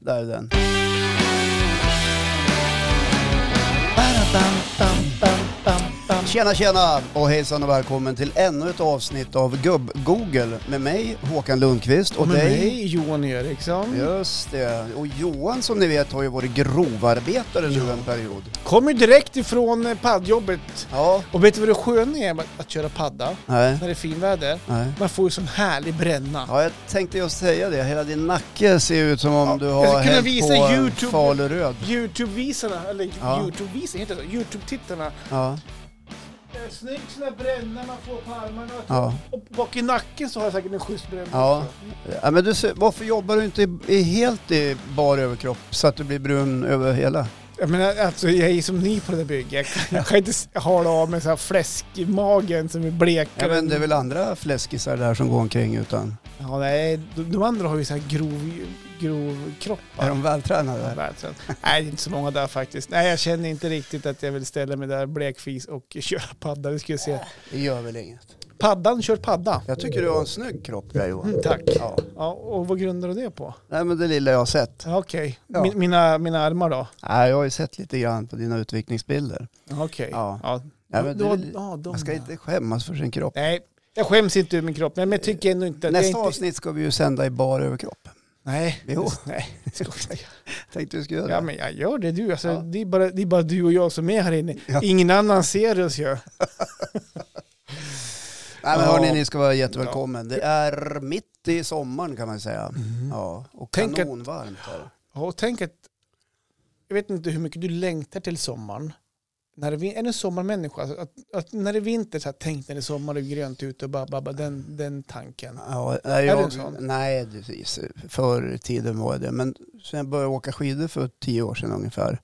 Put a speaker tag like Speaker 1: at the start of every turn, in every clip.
Speaker 1: Där är den. Tjena tjena och hejsan och välkommen till ännu ett avsnitt av Gubb-Google med mig Håkan Lundqvist och
Speaker 2: Och med
Speaker 1: dig.
Speaker 2: mig, Johan Eriksson.
Speaker 1: Just det. Och Johan som ni vet har ju varit grovarbetare nu en period.
Speaker 2: Kommer direkt ifrån eh, paddjobbet.
Speaker 1: Ja.
Speaker 2: Och vet du vad det sköna är med att köra padda?
Speaker 1: Nej.
Speaker 2: När det är finväder.
Speaker 1: Nej.
Speaker 2: Man får ju sån härlig bränna.
Speaker 1: Ja, jag tänkte just säga det. Hela din nacke ser ju ut som om
Speaker 2: Ja,
Speaker 1: du
Speaker 2: jag
Speaker 1: har
Speaker 2: skulle kunna
Speaker 1: hällt
Speaker 2: visa
Speaker 1: på
Speaker 2: YouTube.
Speaker 1: faluröd.
Speaker 2: Youtube-visarna, eller
Speaker 1: Ja.
Speaker 2: Youtube-visarna heter det så? Youtube-tittarna.
Speaker 1: Ja.
Speaker 2: Snyggt såna bränna man får på armarna.
Speaker 1: Ja.
Speaker 2: Och bak i nacken så har jag säkert en schysst bränna
Speaker 1: Ja.
Speaker 2: också.
Speaker 1: Ja, men du, ser- varför jobbar du inte i, i helt i bar överkropp så att du blir brun över hela?
Speaker 2: Jag menar, alltså jag är som ny på det där bygget. Jag kan, jag kan inte s- hala av med så här fläsk i magen som är blekare.
Speaker 1: Ja, men det är väl andra fläskisar där som går omkring utan...
Speaker 2: Ja, nej, de, de andra har ju så här grov, grov kroppar.
Speaker 1: Är de vältränade?
Speaker 2: Världsrand. Nej, det är inte så många där faktiskt. Nej, jag känner inte riktigt att jag vill ställa mig där blekfis och köra padda. Det skulle jag säga.
Speaker 1: Det gör väl inget.
Speaker 2: Paddan kör padda.
Speaker 1: Jag tycker du har en snygg kropp där Johan.
Speaker 2: Mm, tack.
Speaker 1: Ja.
Speaker 2: Ja, och vad grundar du det på?
Speaker 1: Nej men det lilla jag har sett.
Speaker 2: Ja, Okej,
Speaker 1: Ja.
Speaker 2: Min, mina, mina armar då?
Speaker 1: Nej, jag har ju sett lite grann på dina utvikningsbilder.
Speaker 2: Ja, Okej.
Speaker 1: Ja.
Speaker 2: Ja.
Speaker 1: Ja, men
Speaker 2: Då-
Speaker 1: det är li-
Speaker 2: ja, de
Speaker 1: Man ska
Speaker 2: där.
Speaker 1: inte skämmas för sin kropp.
Speaker 2: Nej, jag skäms inte över min kropp, men jag tycker ändå inte... att jag
Speaker 1: Nästa
Speaker 2: inte...
Speaker 1: avsnitt ska vi ju sända i bar överkropp.
Speaker 2: Nej,
Speaker 1: Jo.
Speaker 2: nej. det ska jag inte göra.
Speaker 1: Tänkte du skulle göra det.
Speaker 2: Ja, men jag gör det du. Alltså,
Speaker 1: Ja.
Speaker 2: det, är bara, det är bara du och jag som är här inne.
Speaker 1: Ja.
Speaker 2: Ingen annan ser oss ju.
Speaker 1: Nej men
Speaker 2: Ja.
Speaker 1: hörni, ni ska vara jättevälkommen. Det är mitt i sommaren kan man säga. Ja, och
Speaker 2: Mm. Tänk att-
Speaker 1: kanonvarmt är det.
Speaker 2: Ja, och tänk att, jag vet inte hur mycket du längtar till sommaren. När det, vin- är du en sommarmänniska? Alltså Att, att när det är vinter, så här, tänk när det är sommar och grönt ute och bara, bara, bara den, den tanken.
Speaker 1: Ja, nej,
Speaker 2: Är du
Speaker 1: jag,
Speaker 2: en sån?
Speaker 1: nej, precis. Förr i tiden var jag det. Men sen jag började åka skidor för tio år sedan ungefär,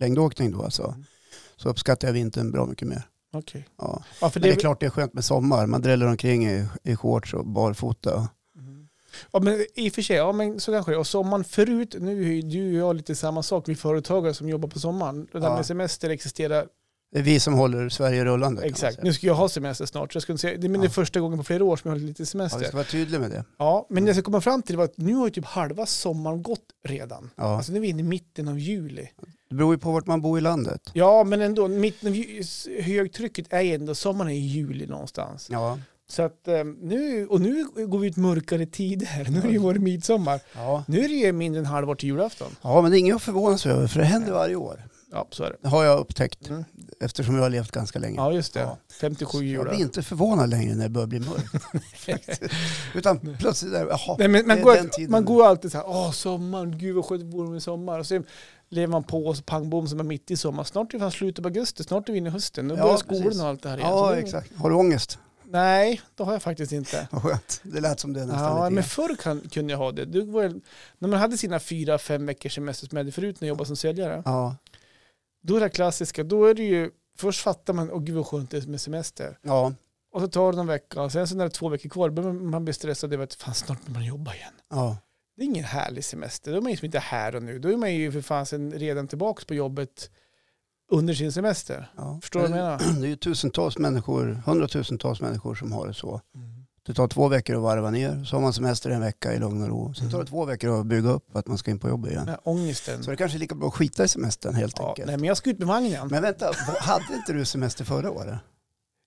Speaker 1: längdåkning då alltså, så uppskattar jag vintern bra mycket mer.
Speaker 2: Mm. Okej.
Speaker 1: Ja.
Speaker 2: Ja, för
Speaker 1: Men det är
Speaker 2: det-
Speaker 1: klart det är skönt med sommar. Man dräller omkring i, i shorts och barfota.
Speaker 2: Mm. Ja, men i och för sig, ja, men så kanske det är. Och sommaren förut, nu är ju du och jag lite samma sak, vi är företagare som jobbar på sommaren. Det där
Speaker 1: Ja.
Speaker 2: med semester existerar,
Speaker 1: Det är vi som håller Sverige rullande. kan man
Speaker 2: exakt.
Speaker 1: säga.
Speaker 2: Nu ska jag ha semester snart, så jag skulle säga, det, men det är
Speaker 1: Ja.
Speaker 2: första gången på flera år som jag har lite
Speaker 1: Ja, vi
Speaker 2: semester.
Speaker 1: ska vara tydliga med det.
Speaker 2: Ja, men
Speaker 1: Mm.
Speaker 2: det jag ska komma fram till var att nu har ju typ halva sommaren gått redan.
Speaker 1: Ja.
Speaker 2: Alltså nu är vi inne i mitten av juli.
Speaker 1: Det beror ju på vart man bor i landet.
Speaker 2: Ja, men ändå, mitten av ju, s- högtrycket är ju ändå, sommaren är i juli någonstans.
Speaker 1: Ja.
Speaker 2: Så att eh, nu, och nu går vi ut mörkare tider, nu är det ju vår midsommar.
Speaker 1: Ja.
Speaker 2: Nu är det ju mindre än halvår till julafton.
Speaker 1: ja, men det är inget att förvåna sig över, för det händer varje år.
Speaker 2: Ja, så är det.
Speaker 1: Det har jag upptäckt,
Speaker 2: Mm.
Speaker 1: eftersom jag har levt ganska länge.
Speaker 2: Ja, just det.
Speaker 1: Ja.
Speaker 2: 57
Speaker 1: jag
Speaker 2: jular.
Speaker 1: blir inte förvånad längre när det börjar bli mörkt. faktiskt. Utan plötsligt, där, jaha,
Speaker 2: Nej, men
Speaker 1: det
Speaker 2: man,
Speaker 1: är
Speaker 2: går,
Speaker 1: den tiden.
Speaker 2: man går alltid så här, åh sommaren, gud vad skönt det vore med sommar. Och sen lever man på och så pang bom som är mitt i sommar. Snart är det fan slutet på augusti, snart är vi inne i hösten. Då
Speaker 1: Ja,
Speaker 2: börjar skolan
Speaker 1: precis.
Speaker 2: och allt det här igen. Så
Speaker 1: Ja,
Speaker 2: det-
Speaker 1: exakt. Har du ångest?
Speaker 2: Nej, det har jag faktiskt inte.
Speaker 1: Vad skönt. Det lät som det nästan
Speaker 2: Ja,
Speaker 1: lite
Speaker 2: men
Speaker 1: grann.
Speaker 2: förr kan, kunde jag ha det. det var, när man hade sina fyra, fem veckors semester som jag hade förut när jag jobbade som säljare,
Speaker 1: Ja,
Speaker 2: då är det klassiska, då är det ju, först fattar man, åh gud vad skönt det är med semester.
Speaker 1: ja,
Speaker 2: Och så tar det någon vecka, och sen så när det är två veckor kvar, börjar man- man bli stressad över att fan snart börjar man jobba igen.
Speaker 1: ja.
Speaker 2: Det är ingen härlig semester, då är man ju liksom inte här och nu, då är man ju för fan sen redan tillbaka på jobbet under sin semester.
Speaker 1: ja.
Speaker 2: Förstår du vad
Speaker 1: Men
Speaker 2: jag
Speaker 1: det- Det är ju tusentals människor, hundratusentals människor som har det så. Det tar två veckor att varva ner, så har man semester en vecka i lugn och ro. Sen tar det
Speaker 2: Mm.
Speaker 1: två veckor att bygga upp att man ska in på jobbet igen.
Speaker 2: Den här ångesten.
Speaker 1: Så det kanske är lika bra att skita i semestern helt
Speaker 2: Ja,
Speaker 1: enkelt.
Speaker 2: nej, men jag ska ut med vagnen.
Speaker 1: Men vänta, vad- hade inte du semester förra året?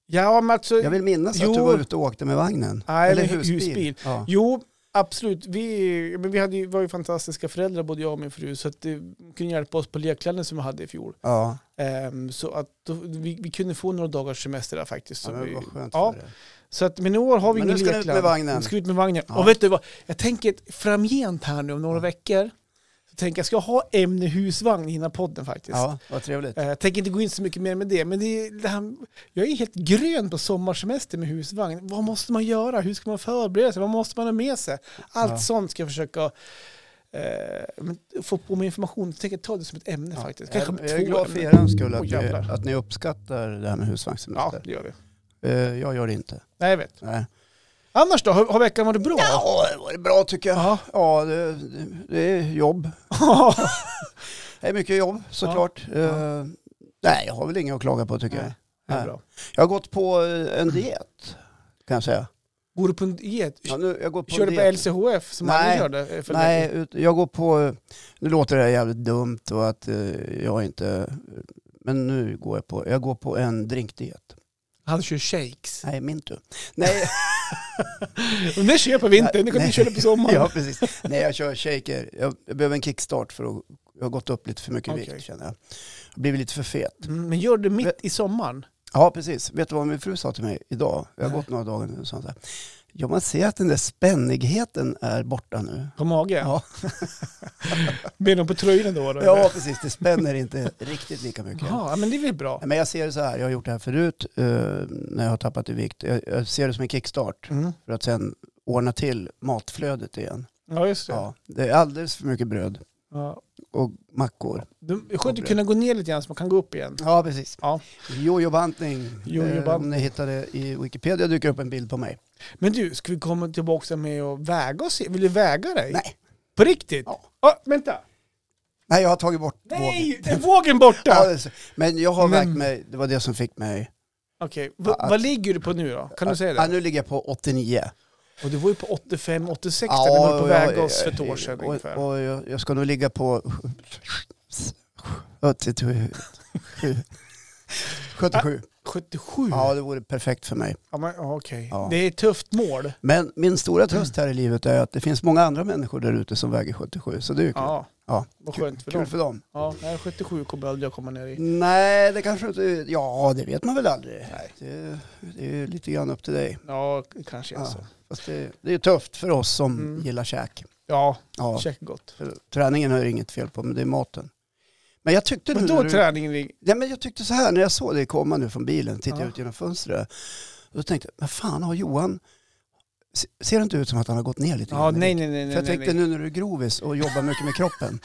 Speaker 2: Ja, men alltså,
Speaker 1: Jag vill minnas
Speaker 2: Jo.
Speaker 1: att du var ute och åkte med vagnen.
Speaker 2: Nej,
Speaker 1: Eller
Speaker 2: men hu-
Speaker 1: husbil.
Speaker 2: husbil.
Speaker 1: Ja.
Speaker 2: Jo, absolut. Vi, men vi hade, ju- var ju fantastiska föräldrar, både jag och min fru, så att det kunde hjälpa oss på lekkläderna som vi hade i fjol.
Speaker 1: Ja,
Speaker 2: Ehm, så att då, vi, vi kunde få några dagars semester där faktiskt.
Speaker 1: ja
Speaker 2: Så,
Speaker 1: men
Speaker 2: vi,
Speaker 1: vad skönt
Speaker 2: ja.
Speaker 1: för dig.
Speaker 2: så att, men i år har vi
Speaker 1: Men
Speaker 2: ingen
Speaker 1: nu ska ni ut
Speaker 2: lekkläder.
Speaker 1: med vagnen.
Speaker 2: Vi ska ut med vagnen.
Speaker 1: Ja.
Speaker 2: Och vet du vad, jag tänker att framgent här nu om några veckor, så tänker jag, ska jag ha ämne husvagn innan podden faktiskt?
Speaker 1: Ja, vad trevligt.
Speaker 2: Eh, Jag tänker inte gå in så mycket mer med det, men det, är- det här, jag är helt grön på sommarsemester med husvagn. Vad måste man göra? Hur ska man förbereda sig? Vad måste man ha med sig? Allt
Speaker 1: Ja.
Speaker 2: sånt ska jag försöka eh, men få på mig information. Jag tänker ta det som ett ämne
Speaker 1: Ja.
Speaker 2: faktiskt.
Speaker 1: Jag,
Speaker 2: Kanske
Speaker 1: jag
Speaker 2: två
Speaker 1: är glad för
Speaker 2: ämnen.
Speaker 1: er skull att,
Speaker 2: Oj,
Speaker 1: ni,
Speaker 2: jävlar.
Speaker 1: att ni uppskattar det här med
Speaker 2: Ja,
Speaker 1: husvagnssemester.
Speaker 2: det gör vi.
Speaker 1: Eh, Jag gör det inte.
Speaker 2: Nej, jag vet.
Speaker 1: Nej.
Speaker 2: Annars då? Har, har veckan varit bra?
Speaker 1: Ja, det var bra tycker jag.
Speaker 2: Ja.
Speaker 1: Ja, det, det- det är jobb. Det är mycket jobb såklart. Eh, Nej, jag har väl inget att klaga på tycker jag.
Speaker 2: Nej, det är
Speaker 1: Nej.
Speaker 2: bra.
Speaker 1: Jag har gått på eh, en diet kan jag säga.
Speaker 2: Går du på en diet?
Speaker 1: Ja, nu, jag går på
Speaker 2: Kör du på
Speaker 1: diet.
Speaker 2: LCHF som
Speaker 1: Nej.
Speaker 2: alla körde? eh, för
Speaker 1: Nej,
Speaker 2: länge?
Speaker 1: ut- jag går på, nu låter det här jävligt dumt och att eh, jag inte, men nu går jag på, jag går på en drinkdiet.
Speaker 2: Han kör shakes.
Speaker 1: Nej, min tur. Nej,
Speaker 2: Och det köper vi inte, nu kan
Speaker 1: Nej.
Speaker 2: du köra på sommaren.
Speaker 1: ja, precis. Nej, jag kör shaker. Jag, jag behöver en kickstart för att, jag har gått upp lite för mycket i
Speaker 2: Okej.
Speaker 1: vikt känner jag. Jag har blivit lite för fet.
Speaker 2: Mm, Men gör det mitt i sommaren.
Speaker 1: Ja, precis. Vet du vad min fru sa till mig idag? Jag har
Speaker 2: Nej.
Speaker 1: gått några dagar nu och sa hon så här. Ja, man ser att den där spännigheten är borta nu.
Speaker 2: På magen?
Speaker 1: Ja.
Speaker 2: Med dem på tröjan då? då
Speaker 1: Ja, precis. Det spänner inte riktigt lika mycket.
Speaker 2: Jaha, ja, men det är väl bra.
Speaker 1: Men jag ser det så här, jag har gjort det här förut eh, när jag har tappat i vikt. Jag, jag ser det som en kickstart
Speaker 2: Mm.
Speaker 1: för att sen ordna till matflödet igen.
Speaker 2: Ja, just det. Ja.
Speaker 1: Ja, det är alldeles för mycket bröd och mackor.
Speaker 2: Du- Det är skönt att kunna gå ner lite grann så man kan gå upp igen.
Speaker 1: Ja, precis.
Speaker 2: Ja.
Speaker 1: Jojo-bantning.
Speaker 2: Jojo
Speaker 1: Eh, Om ni hittade i Wikipedia dyker upp en bild på mig.
Speaker 2: Men du, ska vi komma tillbaka med och väga oss? Vill du väga dig?
Speaker 1: Nej.
Speaker 2: På riktigt?
Speaker 1: Ja.
Speaker 2: Ah, vänta!
Speaker 1: Nej, jag har tagit bort vågen.
Speaker 2: Nej, är vågen borta!
Speaker 1: Ja, det är så. men jag har
Speaker 2: Men-
Speaker 1: vägt mig, det var det som fick mig...
Speaker 2: Okej, va-
Speaker 1: Ja, att-
Speaker 2: vad ligger du på nu då? Kan du säga
Speaker 1: Ja,
Speaker 2: det?
Speaker 1: nu ligger jag på 89.
Speaker 2: Och du var ju på 85, 86 där vi höll på
Speaker 1: och
Speaker 2: att
Speaker 1: jag-
Speaker 2: väga oss för ett år sedan
Speaker 1: och,
Speaker 2: ungefär.
Speaker 1: och jag, jag ska nog ligga på 87. 77.
Speaker 2: 77?
Speaker 1: Ja, det vore perfekt för mig.
Speaker 2: Ja, men, ja, okej.
Speaker 1: Ja.
Speaker 2: Det är ett tufft mål.
Speaker 1: Men min stora tröst här i livet är att det finns många andra människor där ute som väger 77, så det är ju kul.
Speaker 2: Ja,
Speaker 1: Ja.
Speaker 2: vad skönt för
Speaker 1: Kul
Speaker 2: dem.
Speaker 1: för dem.
Speaker 2: Ja, nej, 77 kommer aldrig jag komma ner i.
Speaker 1: Nej, det kanske inte... Ja, det vet man väl aldrig.
Speaker 2: Nej.
Speaker 1: Det, det är ju lite grann upp till dig.
Speaker 2: Ja, k- kanske alltså. är
Speaker 1: Ja.
Speaker 2: så.
Speaker 1: Fast det, det är ju tufft för oss som
Speaker 2: Mm.
Speaker 1: gillar käk.
Speaker 2: Ja,
Speaker 1: Ja,
Speaker 2: käka gott.
Speaker 1: för träningen har jag inget fel på, men det är maten. Men jag tyckte
Speaker 2: Men
Speaker 1: nu
Speaker 2: då
Speaker 1: när
Speaker 2: är
Speaker 1: du-
Speaker 2: träningen i-
Speaker 1: Ja, men jag tyckte så här när jag såg dig komma nu från bilen, tittade
Speaker 2: Ja.
Speaker 1: ut genom fönstret. Då tänkte jag, men fan har Johan, se- ser det inte ut som att han har gått ner lite
Speaker 2: Ja,
Speaker 1: i
Speaker 2: nej,
Speaker 1: vikt?
Speaker 2: nej, nej.
Speaker 1: För jag
Speaker 2: nej,
Speaker 1: tänkte
Speaker 2: nej.
Speaker 1: nu när du är grovis och jobbar mycket med kroppen.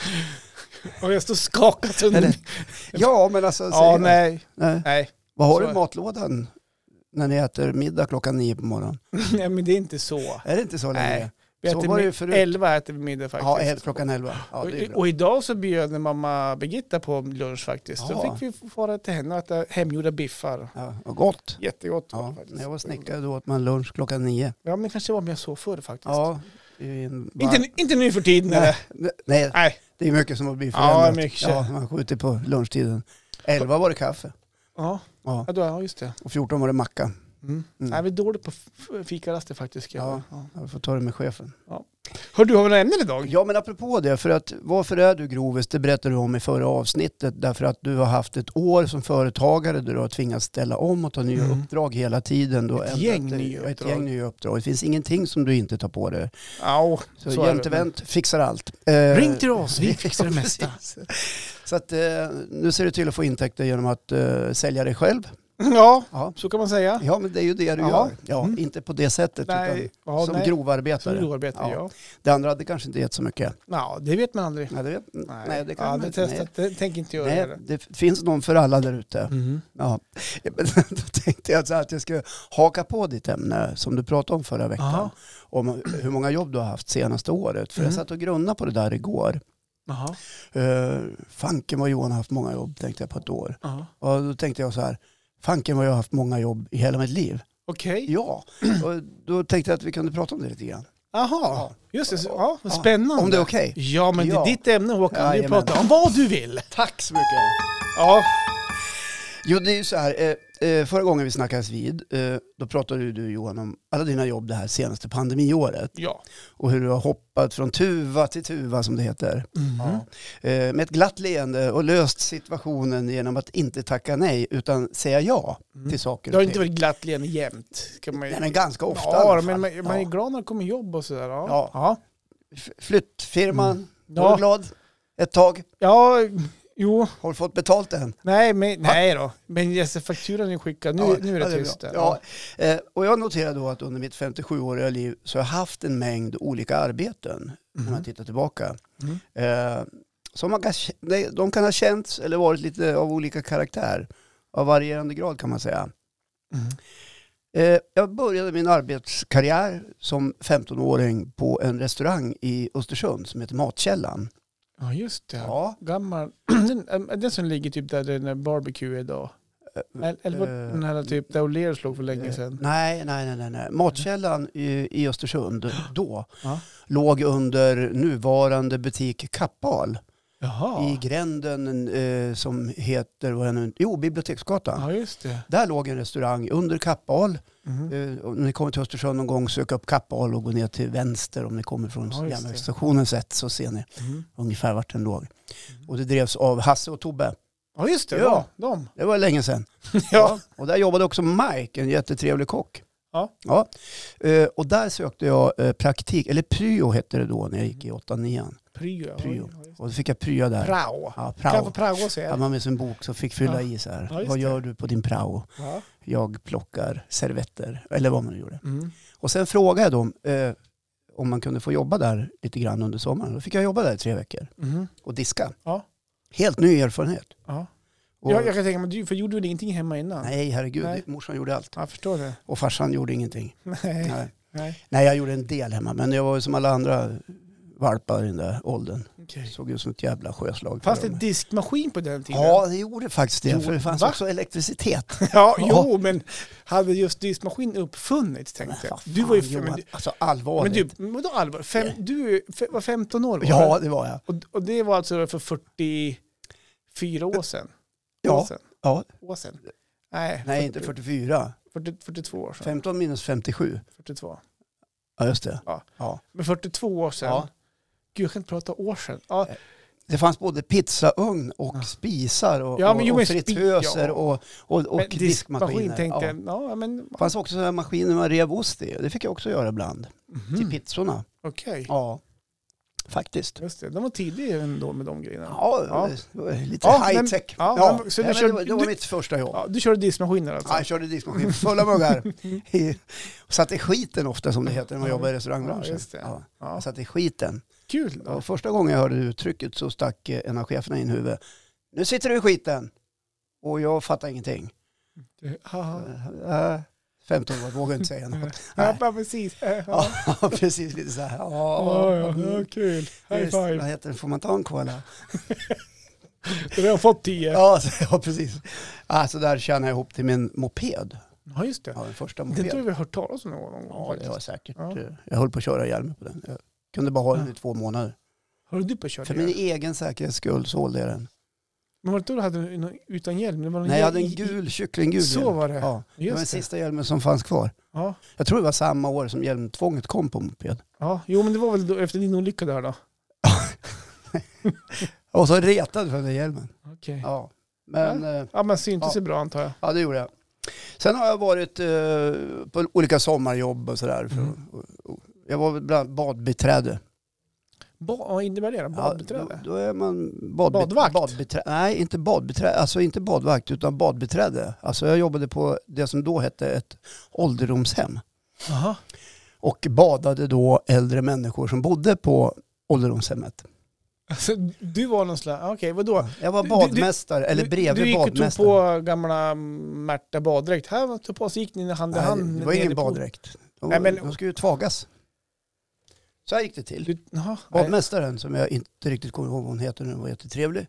Speaker 2: Och jag står skakad under...
Speaker 1: Eller, ja, men alltså,
Speaker 2: ja,
Speaker 1: säg det.
Speaker 2: nej,
Speaker 1: Nej.
Speaker 2: nej.
Speaker 1: Vad har du
Speaker 2: Så-
Speaker 1: i matlådan när ni äter middag klockan nio på morgonen?
Speaker 2: nej, men det är inte så.
Speaker 1: Är det inte så
Speaker 2: Nej,
Speaker 1: länge?
Speaker 2: Vi
Speaker 1: Så
Speaker 2: äter
Speaker 1: var det
Speaker 2: mi-
Speaker 1: ju förut.
Speaker 2: 11 äter vi middag faktiskt.
Speaker 1: Ja, el- klockan elva. Ja, det är
Speaker 2: och,
Speaker 1: bra.
Speaker 2: och idag så bjöd mamma Birgitta på lunch faktiskt. Då
Speaker 1: Ja.
Speaker 2: fick vi fara till henne och äta hemgjorda biffar.
Speaker 1: Ja, och gott.
Speaker 2: Jättegott var
Speaker 1: Ja,
Speaker 2: det faktiskt.
Speaker 1: när jag var snickare då åt man lunch klockan nio.
Speaker 2: Ja, men det kanske var mer så förr faktiskt.
Speaker 1: Ja, i en bar-
Speaker 2: Inte, inte nu för tiden.
Speaker 1: Nej,
Speaker 2: eller?
Speaker 1: nej,
Speaker 2: Nej.
Speaker 1: Det är mycket som har blivit
Speaker 2: Ja,
Speaker 1: förändrat.
Speaker 2: mycket.
Speaker 1: Ja, man skjuter på lunchtiden. 11 var det kaffe
Speaker 2: Ja,
Speaker 1: ja.
Speaker 2: ja, då, ja just det.
Speaker 1: och 14 var det macka.
Speaker 2: Mm.
Speaker 1: Mm.
Speaker 2: Nej, vi är dåliga på f- fikaraster faktiskt. ska jag
Speaker 1: Ja.
Speaker 2: säga. Ja.
Speaker 1: Jag får ta det med chefen.
Speaker 2: Hör du, har vi några ämnen idag?
Speaker 1: Ja, men apropå det, för att varför är du grovis? Det berättade du om i förra avsnittet. Därför att du har haft ett år som företagare där du har tvingats ställa om och ta nya
Speaker 2: Mm.
Speaker 1: uppdrag hela tiden. Du har
Speaker 2: Ett
Speaker 1: ändrat
Speaker 2: gäng
Speaker 1: dig-
Speaker 2: nya
Speaker 1: ja, Ett
Speaker 2: uppdrag.
Speaker 1: gäng nya uppdrag. Det finns ingenting som du inte tar på dig.
Speaker 2: Ja,
Speaker 1: Så,
Speaker 2: Så är det.
Speaker 1: jämtevänt fixar allt. Eh,
Speaker 2: Ring till oss, vi fixar det
Speaker 1: ja,
Speaker 2: mesta.
Speaker 1: precis. Så att, eh, nu ser du till att få intäkter genom att eh, sälja dig själv.
Speaker 2: ja
Speaker 1: Ja.
Speaker 2: så kan man säga.
Speaker 1: Ja, men det är ju det du
Speaker 2: Ja.
Speaker 1: gör. Ja,
Speaker 2: Mm.
Speaker 1: Inte på det sättet,
Speaker 2: Nej,
Speaker 1: utan
Speaker 2: ja,
Speaker 1: som
Speaker 2: nej. Som
Speaker 1: grovarbetare.
Speaker 2: grovarbetare,
Speaker 1: Ja.
Speaker 2: ja.
Speaker 1: Det andra hade kanske inte gett så mycket.
Speaker 2: ja. det vet man aldrig.
Speaker 1: Nej, det, nej. det kan
Speaker 2: ja,
Speaker 1: man
Speaker 2: det
Speaker 1: inte. Nej.
Speaker 2: testat, det tänker inte jag
Speaker 1: Nej,
Speaker 2: göra.
Speaker 1: det finns någon för alla där ute.
Speaker 2: Mm.
Speaker 1: Ja. Men Då tänkte jag så här att jag ska haka på ditt ämne som du pratade om förra veckan.
Speaker 2: Aha.
Speaker 1: Om hur många jobb du har haft senaste året. För jag
Speaker 2: Mm.
Speaker 1: satt och grunnade på det där igår.
Speaker 2: Jaha.
Speaker 1: Uh, fanken vad Johan har haft många jobb tänkte jag på ett år.
Speaker 2: Ja.
Speaker 1: Och då tänkte jag så här, fanken vad jag har haft många jobb i hela mitt liv.
Speaker 2: Okej.
Speaker 1: Ja, och då tänkte jag att vi kunde prata om det lite grann.
Speaker 2: Jaha, just det. Så- Ja, vad spännande.
Speaker 1: Om det är okej.
Speaker 2: Ja, men
Speaker 1: Ja.
Speaker 2: det är ditt ämne Håkan. Du
Speaker 1: Jajamän.
Speaker 2: pratar om vad du vill.
Speaker 1: Tack så mycket.
Speaker 2: Ja,
Speaker 1: Jo, det är ju så här. eh, eh, Förra gången vi snackades vid, eh, då pratade ju du Johan om alla dina jobb det här senaste pandemiåret
Speaker 2: ja.
Speaker 1: och hur du har hoppat från tuva till tuva som det heter.
Speaker 2: Ja.
Speaker 1: Eh, Med ett glatt leende och löst situationen genom att inte tacka nej utan säga ja till saker
Speaker 2: Det Mm.
Speaker 1: och
Speaker 2: har inte
Speaker 1: ting.
Speaker 2: varit glatt leende jämt. Kan man ju...
Speaker 1: Nej, men ganska ofta i alla
Speaker 2: ja,
Speaker 1: fall.
Speaker 2: men man, man är
Speaker 1: Ja.
Speaker 2: glad när det kommer jobb och sådär. Ja.
Speaker 1: Ja.
Speaker 2: Ja.
Speaker 1: F- Flyttfirman, var
Speaker 2: Mm. Ja.
Speaker 1: du glad ett tag?
Speaker 2: ja, jo,
Speaker 1: Har du fått betalt än?
Speaker 2: nej, men, nej då. Men SF-fakturan är skickad. Nu, nu är det
Speaker 1: ja,
Speaker 2: tyst
Speaker 1: bra.
Speaker 2: där.
Speaker 1: Ja. Eh, Och jag noterar då att under mitt 57-åriga liv så har jag haft en mängd olika arbeten när
Speaker 2: Mm.
Speaker 1: man tittar tillbaka.
Speaker 2: Mhm.
Speaker 1: Eh, som man kan, nej, de kan ha känts eller varit lite av olika karaktär. Av varierande grad kan man säga.
Speaker 2: Mm.
Speaker 1: Eh, jag började min arbetskarriär som 15-åring på en restaurang i Östersund som heter Matkällan.
Speaker 2: ja, just det.
Speaker 1: Ja,
Speaker 2: Gammal. Den, äm, den som ligger typ där den är barbecue idag. Eller- Eller var
Speaker 1: Eh,
Speaker 2: den här typ där O'Leary slog för länge
Speaker 1: eh,
Speaker 2: sedan.
Speaker 1: Nej, nej, nej, nej, nej. Matkällan i, i Östersund då
Speaker 2: Ja.
Speaker 1: låg under nuvarande butik Kappahl i
Speaker 2: Jaha.
Speaker 1: gränden eh, som heter, vad är det nu? jo, Biblioteksgatan.
Speaker 2: Ja, just det.
Speaker 1: Där låg en restaurang under Kappahl.
Speaker 2: Mhm.
Speaker 1: Eh, om ni kommer till Östersund någon gång, sök upp Kappahl och gå ner till vänster om ni kommer från
Speaker 2: Ja, just det.
Speaker 1: järnvägsstationen sett så ser ni
Speaker 2: Mhm.
Speaker 1: ungefär vart den låg.
Speaker 2: Mm.
Speaker 1: Och det drevs av Hasse och Tobbe.
Speaker 2: Ja, just det.
Speaker 1: Ja.
Speaker 2: Ja. De.
Speaker 1: Det var länge sedan.
Speaker 2: Ja.
Speaker 1: Och där jobbade också Mike, en jättetrevlig kock.
Speaker 2: Ja.
Speaker 1: ja. Eh, och där sökte jag eh, praktik, eller pryo hette det då när jag gick i 8-9.
Speaker 2: Pryo. ja,
Speaker 1: Pryo.
Speaker 2: ja, just det.
Speaker 1: Och då fick jag prya där.
Speaker 2: Mm. Prao.
Speaker 1: Ja,
Speaker 2: Kan jag få
Speaker 1: prao.
Speaker 2: prao säger
Speaker 1: Hade
Speaker 2: jag.
Speaker 1: man med sin bok så fick fylla
Speaker 2: Ja.
Speaker 1: i så här.
Speaker 2: Ja, just
Speaker 1: vad
Speaker 2: det.
Speaker 1: gör du på din prao?
Speaker 2: Ja.
Speaker 1: Jag plockar servetter, eller vad man nu gjorde.
Speaker 2: Mm.
Speaker 1: Och sen frågade jag dem eh, om man kunde få jobba där lite grann under sommaren. Då fick jag jobba där i tre veckor
Speaker 2: Mhm.
Speaker 1: och diska.
Speaker 2: Ja.
Speaker 1: Helt ny erfarenhet.
Speaker 2: Ja.
Speaker 1: Och,
Speaker 2: Jag, jag kan tänka mig, du- för gjorde du väl ingenting hemma innan?
Speaker 1: Nej, herregud.
Speaker 2: Nej.
Speaker 1: Morsan gjorde allt.
Speaker 2: Jag förstår det.
Speaker 1: Och farsan gjorde ingenting.
Speaker 2: Nej.
Speaker 1: Nej.
Speaker 2: Nej.
Speaker 1: nej, jag gjorde en del hemma. Men jag var ju som alla andra valpar i den där åldern.
Speaker 2: Okej.
Speaker 1: Såg ut som ett jävla sjöslag.
Speaker 2: Fanns
Speaker 1: på
Speaker 2: det
Speaker 1: dem.
Speaker 2: diskmaskin på den tiden?
Speaker 1: Ja, det gjorde faktiskt det.
Speaker 2: Jo,
Speaker 1: för det fanns
Speaker 2: va?
Speaker 1: också elektricitet.
Speaker 2: Ja,
Speaker 1: Ja.
Speaker 2: jo, men hade just diskmaskin uppfunnits
Speaker 1: Men
Speaker 2: tänkte jag.
Speaker 1: vad fan,
Speaker 2: Du var ju...
Speaker 1: Johan,
Speaker 2: Men, du-
Speaker 1: alltså
Speaker 2: men
Speaker 1: allvarligt.
Speaker 2: du, vadå allvar? Fem, du är fe- var 15 år? Var
Speaker 1: ja, det var jag.
Speaker 2: Och, och det var alltså för 44 år sedan?
Speaker 1: Ja.
Speaker 2: År sedan?
Speaker 1: Ja.
Speaker 2: År sedan. Nej,
Speaker 1: Nej, inte 44.
Speaker 2: 40, 42 år sedan.
Speaker 1: 15 minus 57.
Speaker 2: 42.
Speaker 1: Ja, just det.
Speaker 2: Ja.
Speaker 1: ja.
Speaker 2: Men 42 år sedan.
Speaker 1: Ja.
Speaker 2: Gud, jag kan inte prata år sedan. Ja,
Speaker 1: Det fanns både pizzaugn och
Speaker 2: Ja.
Speaker 1: spisar och,
Speaker 2: Ah. Ja, men
Speaker 1: och,
Speaker 2: jo,
Speaker 1: och
Speaker 2: men spi-
Speaker 1: fritöser
Speaker 2: ja.
Speaker 1: och, och, och
Speaker 2: men
Speaker 1: diskmaskiner.
Speaker 2: tänkte
Speaker 1: Ja.
Speaker 2: jag. Ja, men...
Speaker 1: Det fanns också sådana här maskiner man rev ost i. Det fick jag också göra ibland. Till
Speaker 2: Mhm.
Speaker 1: pizzorna.
Speaker 2: Okej,
Speaker 1: Ja, faktiskt.
Speaker 2: just det. De var tidiga ändå med de grejerna.
Speaker 1: Ja,
Speaker 2: Ja.
Speaker 1: det var lite
Speaker 2: Ja, men-
Speaker 1: high tech.
Speaker 2: ja, men- så du
Speaker 1: Nej, men det,
Speaker 2: körde-
Speaker 1: var, det var
Speaker 2: du-
Speaker 1: mitt första jobb.
Speaker 2: Ja, du körde diskmaskiner alltså?
Speaker 1: Ja, jag körde diskmaskin fulla muggar. I- och satt i skiten ofta som det heter när man
Speaker 2: Ja,
Speaker 1: jobbar i
Speaker 2: ja,
Speaker 1: restaurangbranschen.
Speaker 2: just det.
Speaker 1: Ja,
Speaker 2: Ja.
Speaker 1: jag satt i skiten.
Speaker 2: Kul.
Speaker 1: Och första gången jag hörde det uttrycket så stack eh, en av cheferna in huvudet. Nu sitter du i skiten! Och jag fattar ingenting.
Speaker 2: Ja,
Speaker 1: Äh, 15 år, vågar inte säga något.
Speaker 2: ja, ja, precis. Ja, ja.
Speaker 1: Ja, precis. Lite så här. Ja,
Speaker 2: Ja, ja,
Speaker 1: mm.
Speaker 2: ja, kul. High
Speaker 1: Just, Vad
Speaker 2: five.
Speaker 1: heter det? Får man ta en cola?
Speaker 2: Vi har fått tio.
Speaker 1: Ja, så, ja precis. Ja, så där tjänade jag ihop till min moped.
Speaker 2: Ja, just det.
Speaker 1: Ja, den första
Speaker 2: Den tror jag
Speaker 1: moped.
Speaker 2: vi har hört talas om någon gång.
Speaker 1: Ja, det
Speaker 2: faktiskt.
Speaker 1: var säkert.
Speaker 2: Ja.
Speaker 1: eh, Jag höll på att köra ihjäl mig på den. Jag kunde bara ha den i två månader.
Speaker 2: Höll du på att köra
Speaker 1: För
Speaker 2: ihjäl?
Speaker 1: min egen säkerhets skull sålde jag den.
Speaker 2: Men var det då du hade en- någon utan hjälm? Det var någon
Speaker 1: Nej, jag hade
Speaker 2: hjälm
Speaker 1: en
Speaker 2: i-
Speaker 1: gul kycklinggul
Speaker 2: Så
Speaker 1: hjälm.
Speaker 2: var det.
Speaker 1: Ja, det var den
Speaker 2: Just det.
Speaker 1: sista hjälmen som fanns kvar.
Speaker 2: Ja.
Speaker 1: Jag tror det var samma år som hjälmtvånget kom på moped.
Speaker 2: ja, jo men det var väl då, efter din olycka där då?
Speaker 1: Jag var så retad för den där hjälmen.
Speaker 2: Okej. Ja.
Speaker 1: Ja. Men, eh,
Speaker 2: men syntes
Speaker 1: Ja.
Speaker 2: ja. bra antar jag.
Speaker 1: Ja, det gjorde jag. Sen har jag varit eh, på olika sommarjobb och sådär. för-
Speaker 2: Mm.
Speaker 1: och- och- Jag var bland annat badbiträde.
Speaker 2: Ba, vad innebär det då? Badbiträde?
Speaker 1: Ja, då, då är man badbit-
Speaker 2: Badvakt?
Speaker 1: Badbiträde. Nej, inte badbiträde. Alltså inte badvakt utan badbiträde. Alltså jag jobbade på det som då hette ett ålderdomshem.
Speaker 2: Aha.
Speaker 1: Och badade då äldre människor som bodde på ålderdomshemmet.
Speaker 2: Alltså, du var någon slags, okej vadå?
Speaker 1: Jag var
Speaker 2: Du- du-
Speaker 1: badmästare, eller
Speaker 2: Du-
Speaker 1: bredvid
Speaker 2: Du gick och tog
Speaker 1: badmästaren.
Speaker 2: på gamla Märta baddräkt. Här tog på så gick ni hand i hand.
Speaker 1: Nej, det var
Speaker 2: nere
Speaker 1: ingen
Speaker 2: på-
Speaker 1: baddräkt. De,
Speaker 2: Nej, men-
Speaker 1: de skulle ju tvagas. Så här gick det till.
Speaker 2: Du, aha, nej.
Speaker 1: Badmästaren som jag inte riktigt kommer ihåg vad hon heter nu, hon var jättetrevlig.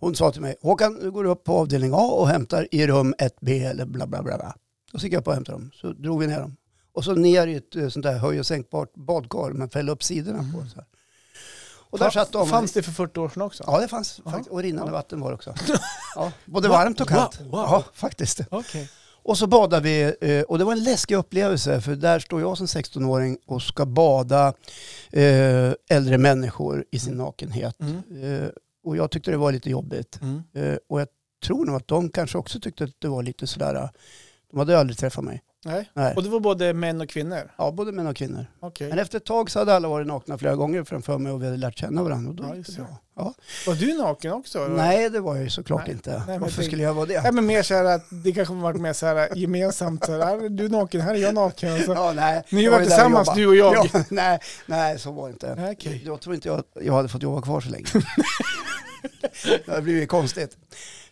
Speaker 1: Hon sa till mig, Håkan nu går du upp på avdelning A och hämtar i rum 1B eller bla bla bla. bla. Då gick jag upp och hämtade dem, så drog vi ner dem. Och så ner i ett eh, sånt där höj och sänkbart badkar, men fällde upp sidorna på. Så här. Och där
Speaker 2: Fa-
Speaker 1: satt de.
Speaker 2: Mm. Fanns det för 40 år sedan också?
Speaker 1: Ja, det fanns
Speaker 2: Ja.
Speaker 1: faktiskt. Och rinnande
Speaker 2: Ja.
Speaker 1: vatten var det också. Ja, både
Speaker 2: Wow,
Speaker 1: varmt och kallt.
Speaker 2: wow, wow.
Speaker 1: Ja, faktiskt.
Speaker 2: Okej.
Speaker 1: Och så badade vi eh, och det var en läskig upplevelse för där står jag som 16-åring och ska bada eh, äldre människor i sin nakenhet.
Speaker 2: Mm.
Speaker 1: Eh, Och jag tyckte det var lite jobbigt.
Speaker 2: Mm.
Speaker 1: Eh, Och jag tror nog att de kanske också tyckte att det var lite sådär, eh, de hade ju aldrig träffat mig.
Speaker 2: Nej.
Speaker 1: Nej.
Speaker 2: Och det var både män och kvinnor?
Speaker 1: Ja, både män och kvinnor.
Speaker 2: Okej.
Speaker 1: Men efter ett tag så hade alla varit nakna flera gånger framför mig och vi hade lärt känna varandra. Och då
Speaker 2: Ja,
Speaker 1: gick
Speaker 2: just
Speaker 1: det
Speaker 2: det.
Speaker 1: bra. Ja.
Speaker 2: Var du naken också? eller?
Speaker 1: Nej, det var jag ju såklart
Speaker 2: Nej.
Speaker 1: inte.
Speaker 2: men
Speaker 1: Varför
Speaker 2: tänk-
Speaker 1: skulle jag vara det?
Speaker 2: Nej, men mer så här att det kanske varit mer så här gemensamt. Så här, här, är du är naken, här är jag naken. Alltså.
Speaker 1: Ja, nej,
Speaker 2: Ni
Speaker 1: jag
Speaker 2: var
Speaker 1: ju där och
Speaker 2: tillsammans,
Speaker 1: jobbade.
Speaker 2: du och jag.
Speaker 1: Ja, nej, nej, så var det inte.
Speaker 2: Nej, okej.
Speaker 1: Jag tror inte jag, jag hade fått jobba kvar så länge. det hade blivit konstigt.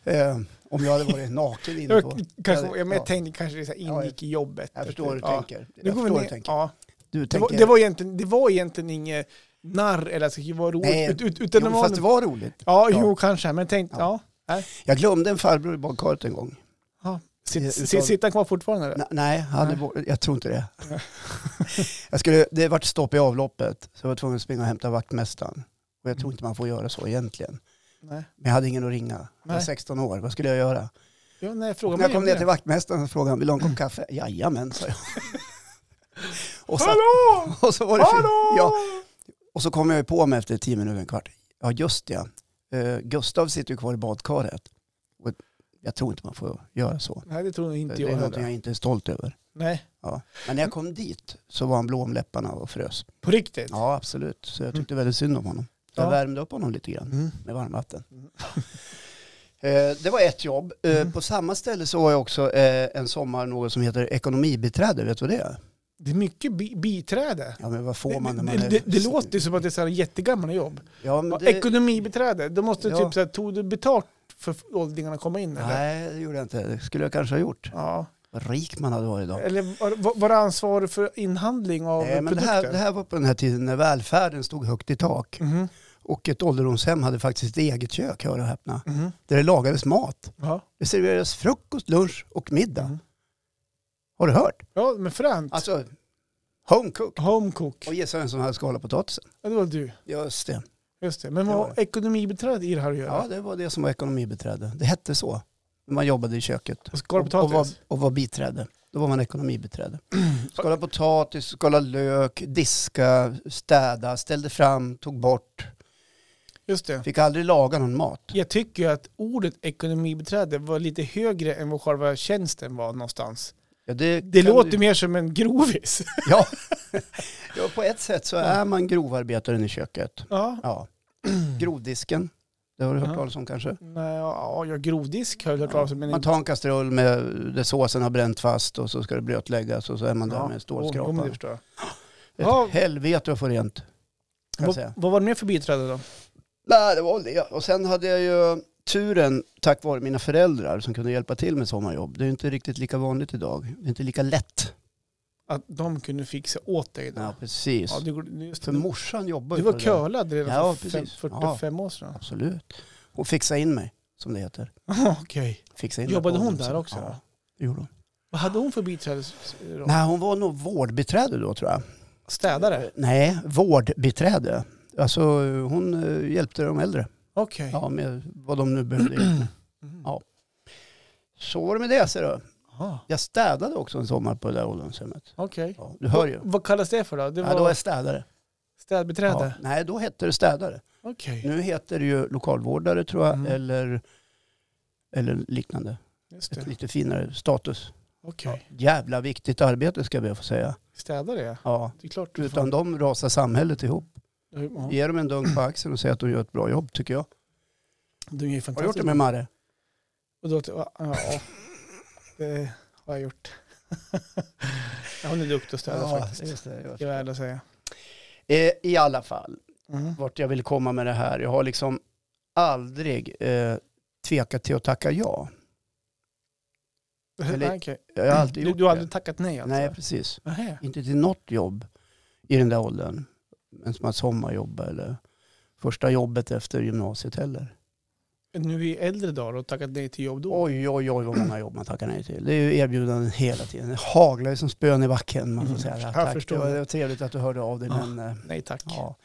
Speaker 1: Eh, om jag hade varit naken inne
Speaker 2: Jag,
Speaker 1: på...
Speaker 2: kanske,
Speaker 1: Ja,
Speaker 2: jag, men
Speaker 1: ja.
Speaker 2: jag tänkte kanske det så här ingick i jobbet.
Speaker 1: Jag förstår hur du
Speaker 2: Ja.
Speaker 1: tänker.
Speaker 2: Nu
Speaker 1: Jag
Speaker 2: går vi
Speaker 1: förstår hur du
Speaker 2: ner.
Speaker 1: tänker.
Speaker 2: Ja.
Speaker 1: Du
Speaker 2: Det, var,
Speaker 1: tänker...
Speaker 2: det, var egentligen, det var egentligen inget narr eller att det skulle vara roligt.
Speaker 1: Nej.
Speaker 2: ut, ut, utan det
Speaker 1: jo,
Speaker 2: var
Speaker 1: fast det var roligt.
Speaker 2: Ja,
Speaker 1: Ja.
Speaker 2: jo kanske. Men tänk,
Speaker 1: Ja.
Speaker 2: ja. Nej.
Speaker 1: Jag glömde en farbror i badkaret en gång.
Speaker 2: Ja.
Speaker 1: Det är
Speaker 2: Sitt,
Speaker 1: utav-
Speaker 2: sit, sitter han kvar fortfarande? eller?
Speaker 1: N- nej, han är
Speaker 2: Nej.
Speaker 1: bort, jag tror inte det.
Speaker 2: Nej.
Speaker 1: jag skulle, det vart stopp i avloppet så jag var tvungen att springa och hämta vaktmästaren. Och jag tror
Speaker 2: Mm.
Speaker 1: inte man får göra så egentligen.
Speaker 2: Nej.
Speaker 1: Men jag hade ingen att ringa. Jag var
Speaker 2: Nej.
Speaker 1: 16 år, vad skulle jag göra?
Speaker 2: Jo, nej, frågar
Speaker 1: När
Speaker 2: man
Speaker 1: jag
Speaker 2: ju
Speaker 1: kom
Speaker 2: om
Speaker 1: ner
Speaker 2: det.
Speaker 1: till vaktmästaren och frågade han, vill du ha en kopp kaffe? Jajamän, sa jag. och, så,
Speaker 2: Hallå!
Speaker 1: och, så var det fint.
Speaker 2: Hallå!
Speaker 1: Ja. och så kom jag ju på mig efter 10 minuter, en kvart. Ja, just det. Eh, Gustav sitter ju kvar i badkaret. Och jag tror inte man får göra så.
Speaker 2: Nej, det tror nog inte
Speaker 1: det
Speaker 2: jag
Speaker 1: är något
Speaker 2: heller.
Speaker 1: jag inte är stolt över.
Speaker 2: Nej,
Speaker 1: Men när jag kom dit så var han blå om läpparna och frös.
Speaker 2: på riktigt.
Speaker 1: Ja, absolut. Så jag tyckte väldigt synd om honom. Så Jag
Speaker 2: Ja.
Speaker 1: värmde upp honom lite grann
Speaker 2: Mm.
Speaker 1: med varmvatten.
Speaker 2: Mm.
Speaker 1: Eh, Det var ett jobb. Eh,
Speaker 2: Mm.
Speaker 1: På samma ställe så var jag också eh, en sommar något som heter ekonomibiträde. Vet du vad det är?
Speaker 2: Det är mycket bi biträde.
Speaker 1: Ja, men vad får man när man
Speaker 2: Det,
Speaker 1: är...
Speaker 2: det, det låter ju som att det är så här jättegamla jobb.
Speaker 1: Ja, men
Speaker 2: Det...
Speaker 1: det...
Speaker 2: Ekonomibiträde, då måste du
Speaker 1: Ja.
Speaker 2: typ så här, tog du betalt för åldringarna att komma in eller?
Speaker 1: Nej, det gjorde jag inte. Det skulle jag kanske ha gjort.
Speaker 2: Ja.
Speaker 1: Vad rik man hade varit idag.
Speaker 2: Eller var, var, var du ansvarig för inhandling av
Speaker 1: Nej, men det,
Speaker 2: produkter?
Speaker 1: här, det här var på den här tiden när välfärden stod högt i tak.
Speaker 2: Mhm,
Speaker 1: Och ett ålderdomshem hade faktiskt ett eget kök, hör och häpna.
Speaker 2: mhm.
Speaker 1: Där det lagades mat.
Speaker 2: Ja.
Speaker 1: Det serveras frukost, lunch och middag.
Speaker 2: Mhm.
Speaker 1: Har du hört?
Speaker 2: ja, men fränt.
Speaker 1: Alltså, home cook.
Speaker 2: Homecook.
Speaker 1: Och gissa vem som hade skalat potatisen.
Speaker 2: Ja, det var du.
Speaker 1: Just det.
Speaker 2: Just det. Men
Speaker 1: Det
Speaker 2: vad
Speaker 1: var
Speaker 2: har ekonomibiträde i det här att göra?
Speaker 1: Ja, det var det som var ekonomibiträde. Det hette så. När man jobbade i köket.
Speaker 2: Och skala
Speaker 1: och, och, var,
Speaker 2: potatis?
Speaker 1: och var biträde. Då var man ekonomibiträde. Skala potatis, skala lök, diska, städa, ställde fram, tog bort.
Speaker 2: Just det.
Speaker 1: Fick aldrig laga någon mat.
Speaker 2: Jag tycker ju att ordet ekonomibiträde var lite högre än vad själva tjänsten var någonstans.
Speaker 1: Ja, det
Speaker 2: Det
Speaker 1: kan
Speaker 2: låter
Speaker 1: du-
Speaker 2: mer som en grovis.
Speaker 1: Ja. ja, på ett sätt så är man grovarbetaren i köket.
Speaker 2: ja.
Speaker 1: Ja. Grovdisken, det har du hört
Speaker 2: Ja.
Speaker 1: talas om kanske?
Speaker 2: Nej, ja, ja, grovdisk har jag hört talas om. Men
Speaker 1: Man tar en kastrull med där såsen har bränt fast och så ska det blötläggas och så är man där
Speaker 2: Ja,
Speaker 1: med en
Speaker 2: jo, men
Speaker 1: stålskrapa.
Speaker 2: det förstår jag.
Speaker 1: Ett
Speaker 2: Ja.
Speaker 1: helvete att få rent. Kan jag
Speaker 2: Vad-
Speaker 1: säga.
Speaker 2: vad var det mer för biträde då?
Speaker 1: Nej, det var väl det. Och sen hade jag ju turen tack vare mina föräldrar som kunde hjälpa till med sommarjobb. Det är ju inte riktigt lika vanligt idag. Det är inte lika lätt.
Speaker 2: Att de kunde fixa åt dig då?
Speaker 1: Ja, precis.
Speaker 2: Ja, du, just,
Speaker 1: För
Speaker 2: du,
Speaker 1: morsan jobbar
Speaker 2: du
Speaker 1: ju på
Speaker 2: var
Speaker 1: det där.
Speaker 2: curlad redan
Speaker 1: Ja,
Speaker 2: för fem,
Speaker 1: precis.
Speaker 2: 45 år sedan.
Speaker 1: Absolut. Hon fixade in mig, som det heter.
Speaker 2: Okej.
Speaker 1: Fixa in mig
Speaker 2: Jobbade
Speaker 1: på
Speaker 2: hon
Speaker 1: ålderdomshem.
Speaker 2: där också?
Speaker 1: Ja,
Speaker 2: då?
Speaker 1: det gjorde hon.
Speaker 2: Vad hade hon för biträdesroll?
Speaker 1: Nej, hon var nog vårdbiträde då tror jag.
Speaker 2: Städare?
Speaker 1: Nej, vårdbiträde. Alltså hon eh, hjälpte de äldre
Speaker 2: Okej.
Speaker 1: ja, med vad de nu behövde. hjälp.
Speaker 2: Mm.
Speaker 1: Ja. Så var det med det. Ser du.
Speaker 2: Aha,
Speaker 1: Jag städade också en sommar på det där ålderdomshemmet.
Speaker 2: Okej.
Speaker 1: Ja, du hör ju.
Speaker 2: Vad, vad kallas det för då? Det var
Speaker 1: Ja, då var jag städare. Ja,
Speaker 2: städbiträde?
Speaker 1: nej, då hette det städare.
Speaker 2: Okej.
Speaker 1: Nu heter det ju lokalvårdare tror jag,
Speaker 2: Mm.
Speaker 1: eller, eller liknande.
Speaker 2: Just
Speaker 1: Ett
Speaker 2: det.
Speaker 1: lite finare status.
Speaker 2: Okej.
Speaker 1: Jävla viktigt arbete ska jag be få säga.
Speaker 2: Städare ja.
Speaker 1: Ja,
Speaker 2: Det är klart. du
Speaker 1: utan
Speaker 2: fan-
Speaker 1: dem rasar samhället ihop.
Speaker 2: Ja,
Speaker 1: Ge dem en dunk på axeln och säg att de gör ett bra jobb tycker jag.
Speaker 2: De är
Speaker 1: Har du
Speaker 2: ju
Speaker 1: gjort det
Speaker 2: fantastiska.
Speaker 1: med Marre?
Speaker 2: Och då, ja, ja, det har jag gjort. ja, hon är duktig att städa faktiskt.
Speaker 1: just det, just
Speaker 2: Det är värd att säga.
Speaker 1: det. Eh, I alla fall,
Speaker 2: Mm.
Speaker 1: vart jag vill komma med det här. Jag har liksom aldrig eh, tvekat till att tacka ja. Eller-
Speaker 2: Nej, okej.
Speaker 1: Jag har alltid
Speaker 2: du,
Speaker 1: gjort
Speaker 2: du har
Speaker 1: det.
Speaker 2: aldrig tackat nej alltså?
Speaker 1: Nej, precis.
Speaker 2: Nähä.
Speaker 1: Inte till något jobb i den där åldern. Men som att sommarjobba eller första jobbet efter gymnasiet heller.
Speaker 2: Nu i äldre dagar och tackat nej till jobb då?
Speaker 1: Oj, oj, oj vad många jobb man tackar nej till. Det är ju erbjudanden hela tiden. Det haglar ju som spön i backen. Man får
Speaker 2: Mm,
Speaker 1: säga det. här.
Speaker 2: jag
Speaker 1: Tack,
Speaker 2: förstår
Speaker 1: det var,
Speaker 2: det.
Speaker 1: det var trevligt att du hörde av dig.
Speaker 2: Ja.
Speaker 1: Men, eh,
Speaker 2: Nej tack.
Speaker 1: Ja.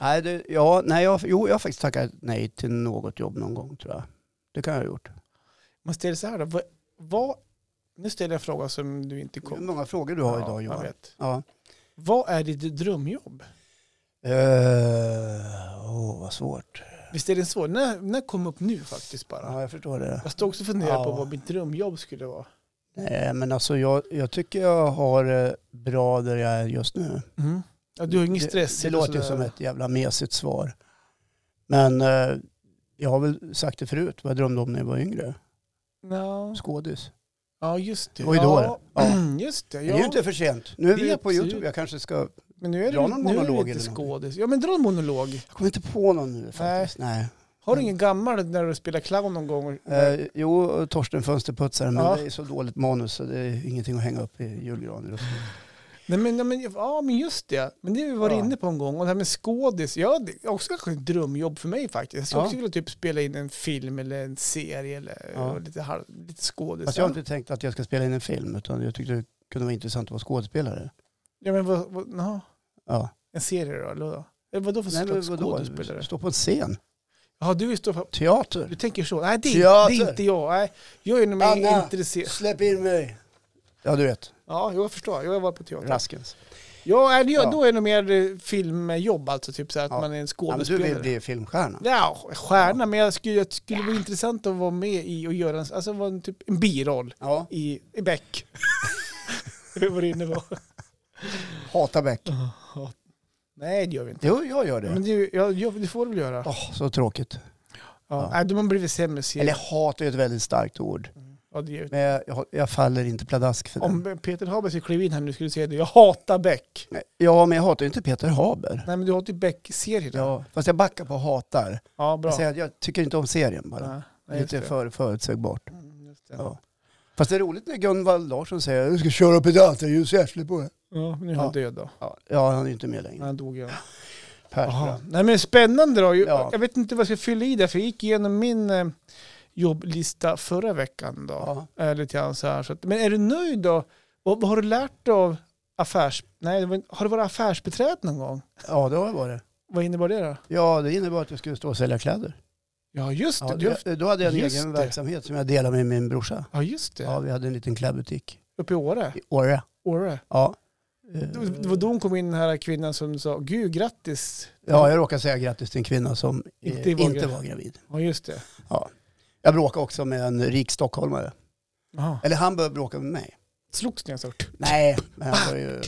Speaker 1: Nej, det, ja, nej jag, jo, jag har faktiskt tackat nej till något jobb någon gång tror jag. Det kan jag ha gjort.
Speaker 2: Man ställer så här då. Vad, vad, nu ställer jag en fråga som du inte
Speaker 1: Hur
Speaker 2: kom
Speaker 1: många frågor du har
Speaker 2: Ja,
Speaker 1: idag
Speaker 2: jag
Speaker 1: Johan.
Speaker 2: vet.
Speaker 1: Ja.
Speaker 2: Vad är ditt drömjobb?
Speaker 1: Eh, Åh, vad svårt.
Speaker 2: Visst är det svårt? När, när kom upp nu faktiskt bara?
Speaker 1: Ja, jag förstår det.
Speaker 2: Jag stod också och funderade på
Speaker 1: Ja.
Speaker 2: vad mitt drömjobb skulle vara.
Speaker 1: Nej, men alltså jag, jag tycker jag har eh, bra där jag är just nu.
Speaker 2: Ja, du har ju ingen
Speaker 1: Mm. Det-
Speaker 2: stress.
Speaker 1: Det
Speaker 2: eller
Speaker 1: låter ju
Speaker 2: sådär.
Speaker 1: som ett jävla mesigt svar. Men eh, jag har väl sagt det förut, vad jag drömde om när jag var yngre.
Speaker 2: Nja.
Speaker 1: Skådis.
Speaker 2: Ja, just det.
Speaker 1: Det var ju då
Speaker 2: ja. Mm,
Speaker 1: det.
Speaker 2: Just det.
Speaker 1: Det är ju
Speaker 2: Ja.
Speaker 1: inte för sent. Nu är
Speaker 2: Det
Speaker 1: vi
Speaker 2: är
Speaker 1: på
Speaker 2: absolut.
Speaker 1: YouTube, jag kanske ska...
Speaker 2: Men nu är
Speaker 1: Dra
Speaker 2: det,
Speaker 1: någon
Speaker 2: nu är
Speaker 1: monolog
Speaker 2: det lite
Speaker 1: eller någonting.
Speaker 2: skådis. Ja, men dra en monolog.
Speaker 1: Jag kommer inte på någon nu faktiskt. Nej.
Speaker 2: Har du ingen gammal när du spelar clown någon gång?
Speaker 1: Mm. Eh, jo, Torsten Fönsterputsare, men
Speaker 2: Ja.
Speaker 1: det är så dåligt manus så det är ingenting att hänga upp i julgranen. just nu.
Speaker 2: Nej, men, nej, men, ja, men just det. Men det har vi varit
Speaker 1: Ja.
Speaker 2: inne på en gång. Och det här med skådis. Ja, det är också kanske ett drömjobb för mig faktiskt. Jag skulle
Speaker 1: Ja.
Speaker 2: också vilja typ spela in en film eller en serie eller
Speaker 1: Ja.
Speaker 2: och lite, halv, lite skådis.
Speaker 1: Fast jag har inte tänkt att jag ska spela in en film utan jag tyckte det kunde vara intressant att vara skådespelare.
Speaker 2: Ja, men vad, vad, jaha.
Speaker 1: Ja.
Speaker 2: en serie då? Eller vadå? Eller vadå för slags skådespelare?
Speaker 1: Stå på en scen.
Speaker 2: Ja, du, vill stå för, du
Speaker 1: Teater.
Speaker 2: tänker så? Nej, det, är-
Speaker 1: Teater.
Speaker 2: det är inte jag. Nej, jag är nog mer
Speaker 1: Anna.
Speaker 2: intresserad.
Speaker 1: Släpp in mig. Ja, du vet.
Speaker 2: Ja, jag förstår. Jag har varit på teater.
Speaker 1: Raskens.
Speaker 2: Ja, nej, det,
Speaker 1: Ja.
Speaker 2: då är det nog mer eh, filmjobb alltså. Typ så här att
Speaker 1: Ja.
Speaker 2: man är en
Speaker 1: Ja, men du
Speaker 2: skådespelare.
Speaker 1: vill bli filmstjärna.
Speaker 2: Ja, stjärna, men jag skulle, det skulle vara intressant att vara med i och göra en, alltså vara en, typ, en biroll
Speaker 1: Ja.
Speaker 2: i, i Beck. det var det inne på.
Speaker 1: Hata Beck.
Speaker 2: Nej, det gör vi inte.
Speaker 1: Jo, jag gör det.
Speaker 2: Men det, ja, ja, det får du väl göra.
Speaker 1: Åh, så tråkigt.
Speaker 2: Ja.
Speaker 1: ja.
Speaker 2: Nej, de har blivit sämre
Speaker 1: Eller
Speaker 2: serier.
Speaker 1: hat är ett väldigt starkt ord.
Speaker 2: Ja, det gör.
Speaker 1: Men jag, jag, jag faller inte pladask för det.
Speaker 2: Om Peter Haber skulle kliva in här nu skulle du säga det. Jag hatar Beck.
Speaker 1: Nej, Ja, men jag hatar ju inte Peter Haber.
Speaker 2: Nej, men du hatar ju Beck-serierna. Ja.
Speaker 1: Ja, fast jag backar på hatar.
Speaker 2: bra.
Speaker 1: Jag säger att jag tycker inte om serien bara.
Speaker 2: Nej,
Speaker 1: Det är
Speaker 2: just
Speaker 1: Lite
Speaker 2: det.
Speaker 1: för förutsägbart.
Speaker 2: Mm, just det.
Speaker 1: Ja. Fast det är roligt när Gunvald Larsson säger du ska köra upp ett altarljus i arslet på dig.
Speaker 2: Ja, nu är han
Speaker 1: Ja.
Speaker 2: död då.
Speaker 1: Ja, ja, han är inte med längre.
Speaker 2: Han dog ju. Jaha.
Speaker 1: Persbrandt.
Speaker 2: Nej men spännande då. Jag,
Speaker 1: Ja.
Speaker 2: jag vet inte vad jag ska fylla i där, för jag gick igenom min eh, jobblista förra veckan då.
Speaker 1: Ja.
Speaker 2: Eh, lite grann så här. Så att, men är du nöjd då? Och, vad har du lärt dig av affärs... Nej, det var- har du varit affärsbiträde någon gång?
Speaker 1: ja, det har jag varit.
Speaker 2: Vad innebar det då?
Speaker 1: Ja, det innebar att jag skulle stå och sälja kläder.
Speaker 2: Ja, just det.
Speaker 1: Ja,
Speaker 2: du, har-
Speaker 1: det, då hade jag en
Speaker 2: just
Speaker 1: egen
Speaker 2: det.
Speaker 1: verksamhet som jag delade med min brorsa.
Speaker 2: ja just det.
Speaker 1: Ja, vi hade en liten klädbutik
Speaker 2: Uppe i Åre.
Speaker 1: i Åre.
Speaker 2: Åre.
Speaker 1: Ja.
Speaker 2: Det var- det var då hon kom in, den här kvinnan som sa, gud grattis.
Speaker 1: Ja, jag råkade säga grattis till en kvinna som eh,
Speaker 2: Inte var
Speaker 1: inte
Speaker 2: gravid.
Speaker 1: var gravid.
Speaker 2: Ja, just det.
Speaker 1: Jag bråkade också med en rik stockholmare.
Speaker 2: Jaha.
Speaker 1: Eller han började bråka med mig.
Speaker 2: Slogs ni alltså? hårt?
Speaker 1: Nej, men han var ju,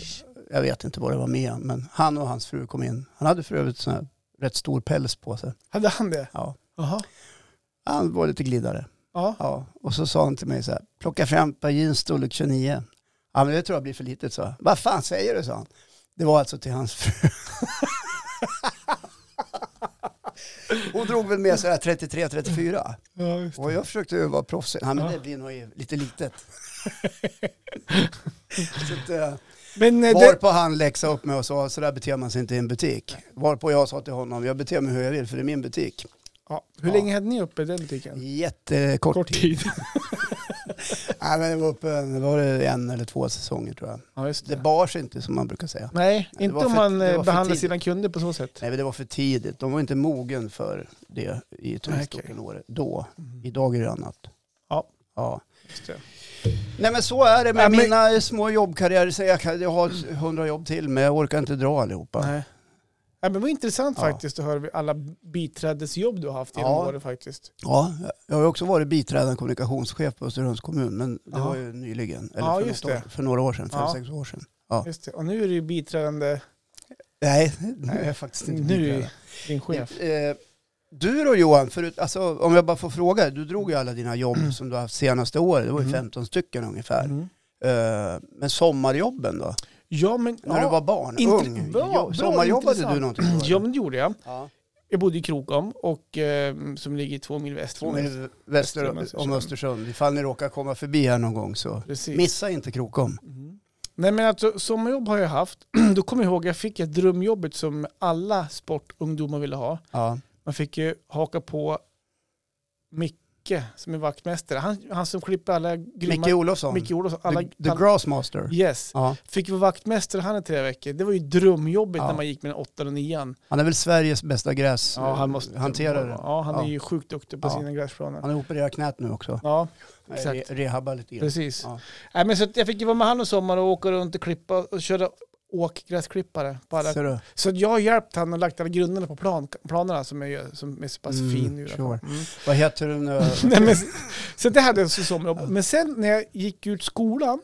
Speaker 1: jag vet inte vad det var med han, men han och hans fru kom in. Han hade för övrigt sån här rätt stor päls på sig.
Speaker 2: Hade han det?
Speaker 1: Ja.
Speaker 2: Jaha.
Speaker 1: Han var lite glidare.
Speaker 2: Ja.
Speaker 1: Ja. Och så sa han till mig så här, plocka fram ett par jeans storlek 29. Ja, men det tror jag blir för litet, så. Vad fan säger du, sa han. Det var alltså till hans fru. Hon drog väl med sig 33-34.
Speaker 2: ja just det.
Speaker 1: Och jag försökte ju vara proffsig. Ja, men
Speaker 2: Ja.
Speaker 1: det blir nog lite litet. så att, eh,
Speaker 2: Men, eh, det,
Speaker 1: Varpå han läxade upp mig och sa så där beter man sig inte i en butik. Varpå jag sa till honom jag beter mig hur jag vill för det är min butik.
Speaker 2: ja, hur
Speaker 1: Ja.
Speaker 2: länge hade ni uppe den butiken?
Speaker 1: Jättekort
Speaker 2: Kort
Speaker 1: tid.
Speaker 2: tid.
Speaker 1: Nej, men det var uppe en, var det en eller två säsonger tror jag.
Speaker 2: Ja, just det.
Speaker 1: Det bar sig inte som man brukar säga.
Speaker 2: Nej,
Speaker 1: det
Speaker 2: inte
Speaker 1: var
Speaker 2: om
Speaker 1: för-
Speaker 2: man
Speaker 1: det
Speaker 2: eh,
Speaker 1: var för
Speaker 2: behandlar
Speaker 1: tidigt.
Speaker 2: sina kunder på så sätt.
Speaker 1: Nej men det var för tidigt. De var inte mogen för det i turistorten Åre då. Idag är det annat.
Speaker 2: Mm. Ja.
Speaker 1: ja.
Speaker 2: Just det.
Speaker 1: Nej men så är det med
Speaker 2: Ja, men-
Speaker 1: mina små jobbkarriärer. Så Jag, kan, jag har hundra jobb till men jag orkar inte dra allihopa.
Speaker 2: Nej. Ja, men vad intressant
Speaker 1: Ja.
Speaker 2: faktiskt att höra alla biträdesjobb du har haft genom
Speaker 1: Ja.
Speaker 2: åren faktiskt.
Speaker 1: Ja, jag har ju också varit biträdande kommunikationschef på Östersunds kommun, men det
Speaker 2: Ja.
Speaker 1: var ju nyligen. Eller
Speaker 2: Ja,
Speaker 1: för,
Speaker 2: just
Speaker 1: något år,
Speaker 2: det.
Speaker 1: för några år sedan, fem,
Speaker 2: Ja.
Speaker 1: sex år sedan.
Speaker 2: Just det. Och nu är du ju biträdande,
Speaker 1: Nej, nu är jag faktiskt inte
Speaker 2: nu är du
Speaker 1: biträdande.
Speaker 2: din chef.
Speaker 1: Eh, Du då Johan, förut, alltså, om jag bara får fråga, du drog ju alla dina jobb som du har haft senaste året, det var ju
Speaker 2: Mm.
Speaker 1: 15 stycken ungefär.
Speaker 2: Mm.
Speaker 1: Eh, Men sommarjobben då?
Speaker 2: Ja, men...
Speaker 1: När
Speaker 2: ja,
Speaker 1: du var barn,
Speaker 2: inte-
Speaker 1: ung?
Speaker 2: bra,
Speaker 1: jo-
Speaker 2: bra,
Speaker 1: sommarjobbade
Speaker 2: intressant. Mm,
Speaker 1: du någonting? då,
Speaker 2: Ja,
Speaker 1: eller?
Speaker 2: men det gjorde jag.
Speaker 1: Ja.
Speaker 2: Jag bodde i Krokom, och, eh, som ligger två mil väster.
Speaker 1: Två mil väster om Östersund, ifall ni råkar komma förbi här någon gång så
Speaker 2: Precis.
Speaker 1: missa inte Krokom.
Speaker 2: Mm. Nej men alltså sommarjobb har jag haft. Då kommer jag ihåg jag fick ett drömjobbet som alla sportungdomar ville ha.
Speaker 1: Ja.
Speaker 2: Man fick ju haka på Micke som är vaktmästare. Han, han som klipper alla grymma...
Speaker 1: Micke Olofsson?
Speaker 2: Micke Olofsson. Alla,
Speaker 1: the, the
Speaker 2: alla,
Speaker 1: Grassmaster.
Speaker 2: yes.
Speaker 1: Ja.
Speaker 2: Fick vara vaktmästare han i tre veckor. Det var ju drömjobbigt
Speaker 1: Ja.
Speaker 2: när man gick mellan åttan och nian.
Speaker 1: Han är väl Sveriges bästa
Speaker 2: Ja, han måste...
Speaker 1: gräshanterare.
Speaker 2: Ja, han är
Speaker 1: Eh, Ja.
Speaker 2: ju sjukt duktig på
Speaker 1: Ja.
Speaker 2: sina gräsplaner.
Speaker 1: Han har opererat knät nu också.
Speaker 2: Ja,
Speaker 1: Re,
Speaker 2: exakt.
Speaker 1: rehabbar lite grann.
Speaker 2: precis.
Speaker 1: Ja.
Speaker 2: Nej, men så att jag fick ju vara med han och sommar och åka runt och klippa och köra åkgräsklippare på alla
Speaker 1: Ser du?
Speaker 2: Så att jag har hjälpt han och lagt alla grunderna på plan, planerna som, jag gör, som är så pass
Speaker 1: Mm,
Speaker 2: fin nu.
Speaker 1: sure.
Speaker 2: Mm.
Speaker 1: Vad heter du nu?
Speaker 2: Nej, men, så det hade jag som sommarjobb. Men sen när jag gick ut skolan,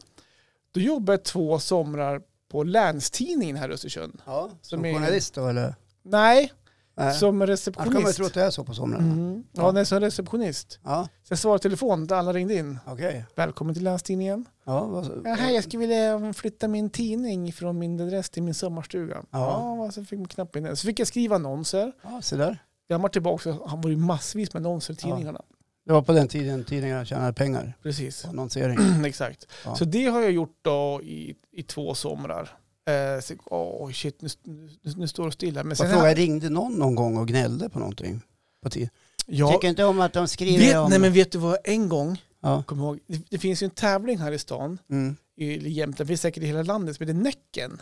Speaker 2: då jobbade jag två somrar på Länstidningen här i Östersund.
Speaker 1: ja, som
Speaker 2: är-
Speaker 1: journalist då eller?
Speaker 2: Nej,
Speaker 1: Nej.
Speaker 2: som
Speaker 1: Annars Äh. kan man ju
Speaker 2: receptionist.
Speaker 1: tro att det är så på somrarna.
Speaker 2: Mm. Ja,
Speaker 1: Ja.
Speaker 2: nej, som receptionist.
Speaker 1: Ja,
Speaker 2: Så jag svarade i telefon där alla ringde in.
Speaker 1: okej.
Speaker 2: Välkommen till Länstidningen.
Speaker 1: Ja, vad,
Speaker 2: Ja, hej, jag skulle vilja um, flytta min tidning från min adress till min sommarstuga. Ja,
Speaker 1: Ja.
Speaker 2: så fick man knappt in det. Så fick jag skriva annonser.
Speaker 1: ja, se där.
Speaker 2: Jag var tillbaka och han var ju massvis med annonser i
Speaker 1: Ja.
Speaker 2: tidningarna.
Speaker 1: Det var på den tiden tidningarna tjänade pengar
Speaker 2: Precis.
Speaker 1: på annonsering.
Speaker 2: Exakt.
Speaker 1: Ja.
Speaker 2: Så det har jag gjort då i, i två somrar. Eh, så, åh shit, nu, nu, nu står det stilla. Men
Speaker 1: Sen, fråga, ringde någon någon gång och gnällde på någonting? På tid.
Speaker 2: ja,
Speaker 1: Tycker inte om att de skriver
Speaker 2: vet,
Speaker 1: om...
Speaker 2: nej men vet du vad, en gång,
Speaker 1: Ja.
Speaker 2: kom ihåg, det, det finns ju en tävling här i stan,
Speaker 1: Mm.
Speaker 2: i i Jämtland, det finns säkert i hela landet, som heter Näcken.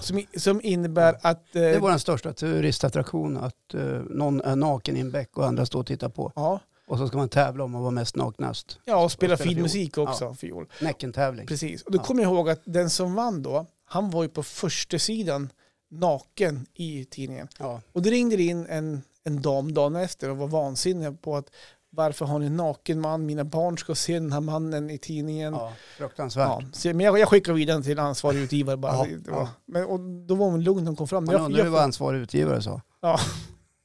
Speaker 2: Som, i- som innebär att... eh,
Speaker 1: Det är vår största turistattraktion att eh, någon är naken i en bäck och andra står och tittar på.
Speaker 2: ja,
Speaker 1: Och så ska man tävla om att vara mest naknast.
Speaker 2: ja, och spela
Speaker 1: Och spela
Speaker 2: fin
Speaker 1: fiol.
Speaker 2: musik också, fiol.
Speaker 1: Näckentävling.
Speaker 2: Precis, och då
Speaker 1: Ja.
Speaker 2: kommer jag ihåg att den som vann då, han var ju på första sidan naken i tidningen.
Speaker 1: Ja.
Speaker 2: Och det ringde in en, en dam dagen efter och var vansinnig på att varför har ni en naken man? Mina barn ska se den här mannen i tidningen. Ja.
Speaker 1: ja, fruktansvärt.
Speaker 2: så, men jag, jag skickar vidare den till ansvarig utgivare bara.
Speaker 1: Ja,
Speaker 2: Det var-
Speaker 1: ja.
Speaker 2: Men, och då var hon lugn när hon kom fram.
Speaker 1: Man
Speaker 2: Jag-
Speaker 1: undrar
Speaker 2: jag-
Speaker 1: hur vad ansvarig utgivare sa.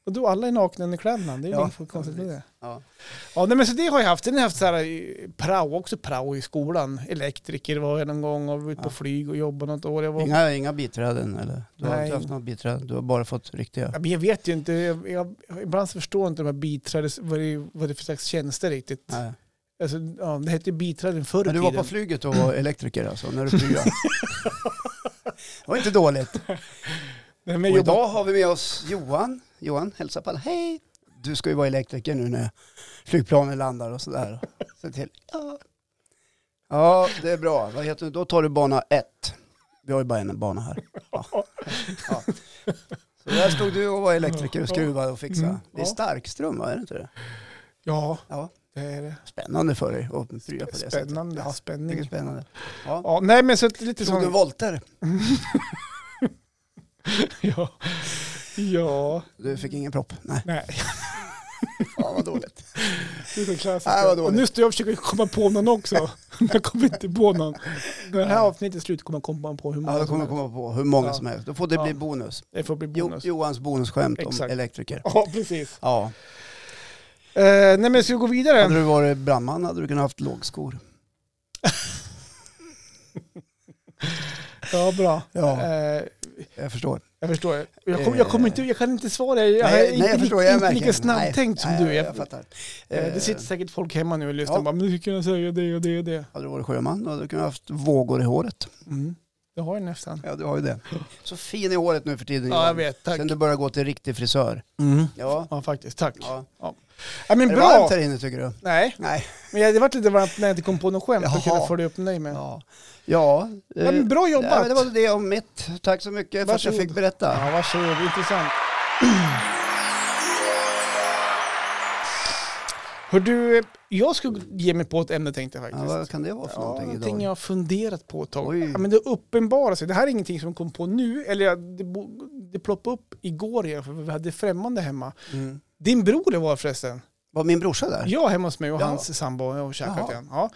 Speaker 2: och då alla är nakna under kläderna. Det är ju
Speaker 1: Ja,
Speaker 2: inget konstigt med det.
Speaker 1: Ja.
Speaker 2: Ja, nej, men så det har jag haft. Sen har jag haft så här, eh, prao också, prao i skolan. Elektriker var jag någon gång och var ute på
Speaker 1: Ja.
Speaker 2: flyg och jobbade något år. Jag, var,
Speaker 1: Inga, inga biträden eller? Du har
Speaker 2: Nej.
Speaker 1: inte haft några biträden, du har bara fått riktiga.
Speaker 2: Ja, men jag vet ju inte, jag, jag, ibland så förstår jag inte de här biträdes, vad det, vad det är för slags tjänster riktigt.
Speaker 1: Nej.
Speaker 2: Alltså, ja, det hette ju biträden förr i
Speaker 1: Men du
Speaker 2: tiden.
Speaker 1: var på flyget och var elektriker alltså, när du pryade. det var inte dåligt.
Speaker 2: Nej,
Speaker 1: Och
Speaker 2: men jag jobbade-
Speaker 1: idag har vi med oss Johan. Johan, hälsa på alla. Hej! Du ska ju vara elektriker nu när flygplanen landar och sådär. Se till. Ja. ja, det är bra. Vad heter det? Då tar du bana ett. Vi har ju bara en bana här. Ja. Ja. Så där stod du och var elektriker och skruvade och
Speaker 2: Mm,
Speaker 1: fixade. Det är
Speaker 2: ja.
Speaker 1: starkström, va? Är det inte det?
Speaker 2: Ja,
Speaker 1: Ja.
Speaker 2: det är det.
Speaker 1: Spännande för dig att prya på det sättet.
Speaker 2: Spännande, ja,
Speaker 1: Mycket
Speaker 2: spänning.
Speaker 1: spännande. Ja.
Speaker 2: Ja, nej men så att lite
Speaker 1: Slog du
Speaker 2: sån...
Speaker 1: volter?
Speaker 2: Ja. ja,
Speaker 1: Du fick ingen propp? Nej.
Speaker 2: nej.
Speaker 1: Fan vad dåligt.
Speaker 2: Det är så klassiskt.
Speaker 1: Nej, vad dåligt.
Speaker 2: och nu står jag och försöker komma på någon också. Men jag kommer inte på någon. När det här avsnittet är slut kommer jag komma på hur många
Speaker 1: Ja, då kommer
Speaker 2: som
Speaker 1: jag komma på hur många
Speaker 2: Ja.
Speaker 1: som helst. Då får det
Speaker 2: Ja.
Speaker 1: bli bonus.
Speaker 2: helst. Det får bli
Speaker 1: Jo,
Speaker 2: bonus.
Speaker 1: Johans bonusskämt om
Speaker 2: Exakt.
Speaker 1: elektriker.
Speaker 2: Ja, precis.
Speaker 1: Ja.
Speaker 2: Eh, nej men ska vi gå vidare?
Speaker 1: Hade du varit brandman hade du kunnat haft lågskor.
Speaker 2: Ja, bra.
Speaker 1: Ja. Eh.
Speaker 2: Eh,
Speaker 1: Jag förstår.
Speaker 2: Jag förstår. Jag, kom, jag, kommer inte, jag kan inte svara. Jag är inte, lika- inte
Speaker 1: märker.
Speaker 2: lika snabbtänkt som
Speaker 1: nej,
Speaker 2: du
Speaker 1: nej,
Speaker 2: är.
Speaker 1: Jag, fattar.
Speaker 2: Eh,
Speaker 1: Eh,
Speaker 2: Det sitter säkert folk hemma nu och lyssnar
Speaker 1: ja.
Speaker 2: och bara, men du kunde säga det och det och det.
Speaker 1: Hade du varit sjöman då hade du kunnat haft vågor i håret.
Speaker 2: Mm. Det har jag nästan.
Speaker 1: Ja, du har ju det. Så fin i håret nu för tiden
Speaker 2: Ja, jag vet. Tack.
Speaker 1: Mm. Sen du börjar gå till riktig frisör.
Speaker 2: Mm.
Speaker 1: Ja.
Speaker 2: Ja, faktiskt. Tack. Ja.
Speaker 1: ja.
Speaker 2: men
Speaker 1: Är det
Speaker 2: bra!
Speaker 1: varmt här inne tycker du?
Speaker 2: Nej,
Speaker 1: Nej.
Speaker 2: men jag, det vart lite varmt när jag inte kom på något skämt och
Speaker 1: Jaha.
Speaker 2: kunde följa upp dig med. Ja.
Speaker 1: Ja. Ja. eh,
Speaker 2: men bra jobbat!
Speaker 1: ja, men det var det om mitt. Tack så mycket för att jag
Speaker 2: Varsågod.
Speaker 1: fick berätta.
Speaker 2: Ja, varsågod. Intressant. Hör du, jag skulle ge mig på ett ämne tänkte jag
Speaker 1: Ja,
Speaker 2: faktiskt.
Speaker 1: vad kan det vara för någonting
Speaker 2: ja, någonting
Speaker 1: idag?
Speaker 2: jag har funderat på ett tag.
Speaker 1: Oj.
Speaker 2: Ja, men det uppenbarar sig. Det här är ingenting som kom på nu, eller jag- det, bo- det ploppade upp igår igen för vi hade främmande hemma.
Speaker 1: Mm.
Speaker 2: Din bror det var förresten.
Speaker 1: Var min brorsa där?
Speaker 2: Jag hemma hos mig och
Speaker 1: Ja.
Speaker 2: hans sambo och käkat
Speaker 1: Jaha.
Speaker 2: igen. Ja.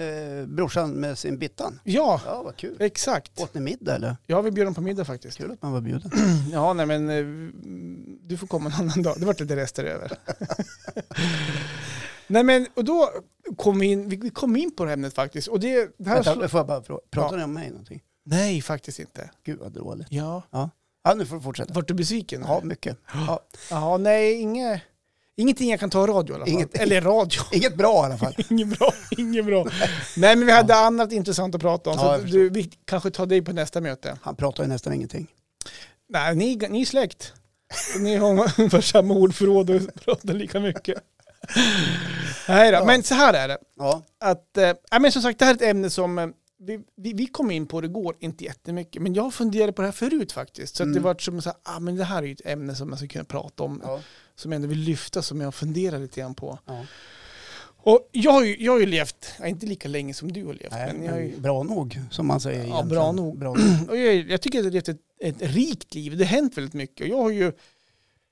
Speaker 1: Eh, brorsan med sin Bittan?
Speaker 2: ja,
Speaker 1: Ja, vad kul.
Speaker 2: exakt.
Speaker 1: Åt ni middag eller?
Speaker 2: Ja, vi bjöd dem på middag faktiskt.
Speaker 1: Kul att man var bjuden.
Speaker 2: Mm, Ja, nej men eh, du får komma en annan dag. Det vart lite rester över. nej men, och då kom vi in, vi- vi kom in på det här ämnet faktiskt. Och det, det här slår-
Speaker 1: Vänta, får jag bara fråga, pratar ni om mig någonting?
Speaker 2: Nej, faktiskt inte.
Speaker 1: Gud vad dåligt.
Speaker 2: Ja.
Speaker 1: Ja, nu får du fortsätta.
Speaker 2: Vart du besviken?
Speaker 1: Ja, mycket. Ja,
Speaker 2: Ja, nej, inget, ingenting jag kan ta i radio i alla fall.
Speaker 1: Inget-
Speaker 2: Eller radio,
Speaker 1: inget bra i alla fall.
Speaker 2: inget bra. Inget bra. nej, men vi hade annat intressant att prata om,
Speaker 1: Ja,
Speaker 2: så
Speaker 1: jag
Speaker 2: att
Speaker 1: förstår.
Speaker 2: du, vi kanske tar dig på nästa möte.
Speaker 1: Han pratar ju nästan ingenting.
Speaker 2: Nej, ni, ni är släkt. Ni har ungefär samma ordförråd och pratar lika mycket. Nej då,
Speaker 1: Ja.
Speaker 2: men så här är det.
Speaker 1: Ja,
Speaker 2: Att, eh, ja, men som sagt, det här är ett ämne som eh, vi, vi, vi kom in på det går inte jättemycket, men jag funderade på det här förut faktiskt. Så att det
Speaker 1: Mm.
Speaker 2: var som så här, ah, men det här är ju ett ämne som man ska kunna prata om
Speaker 1: ja,
Speaker 2: som jag ändå vill lyfta som jag funderar lite grann på.
Speaker 1: ja.
Speaker 2: Och jag har ju, jag har ju levt, ja, inte lika länge som du har levt,
Speaker 1: Nej,
Speaker 2: men jag, har ju,
Speaker 1: men bra nog som man säger.
Speaker 2: Ja,
Speaker 1: egentligen.
Speaker 2: bra nog.
Speaker 1: Bra
Speaker 2: och jag, är- jag tycker att jag har levt ett, ett rikt liv. Det har hänt väldigt mycket. Och jag har ju,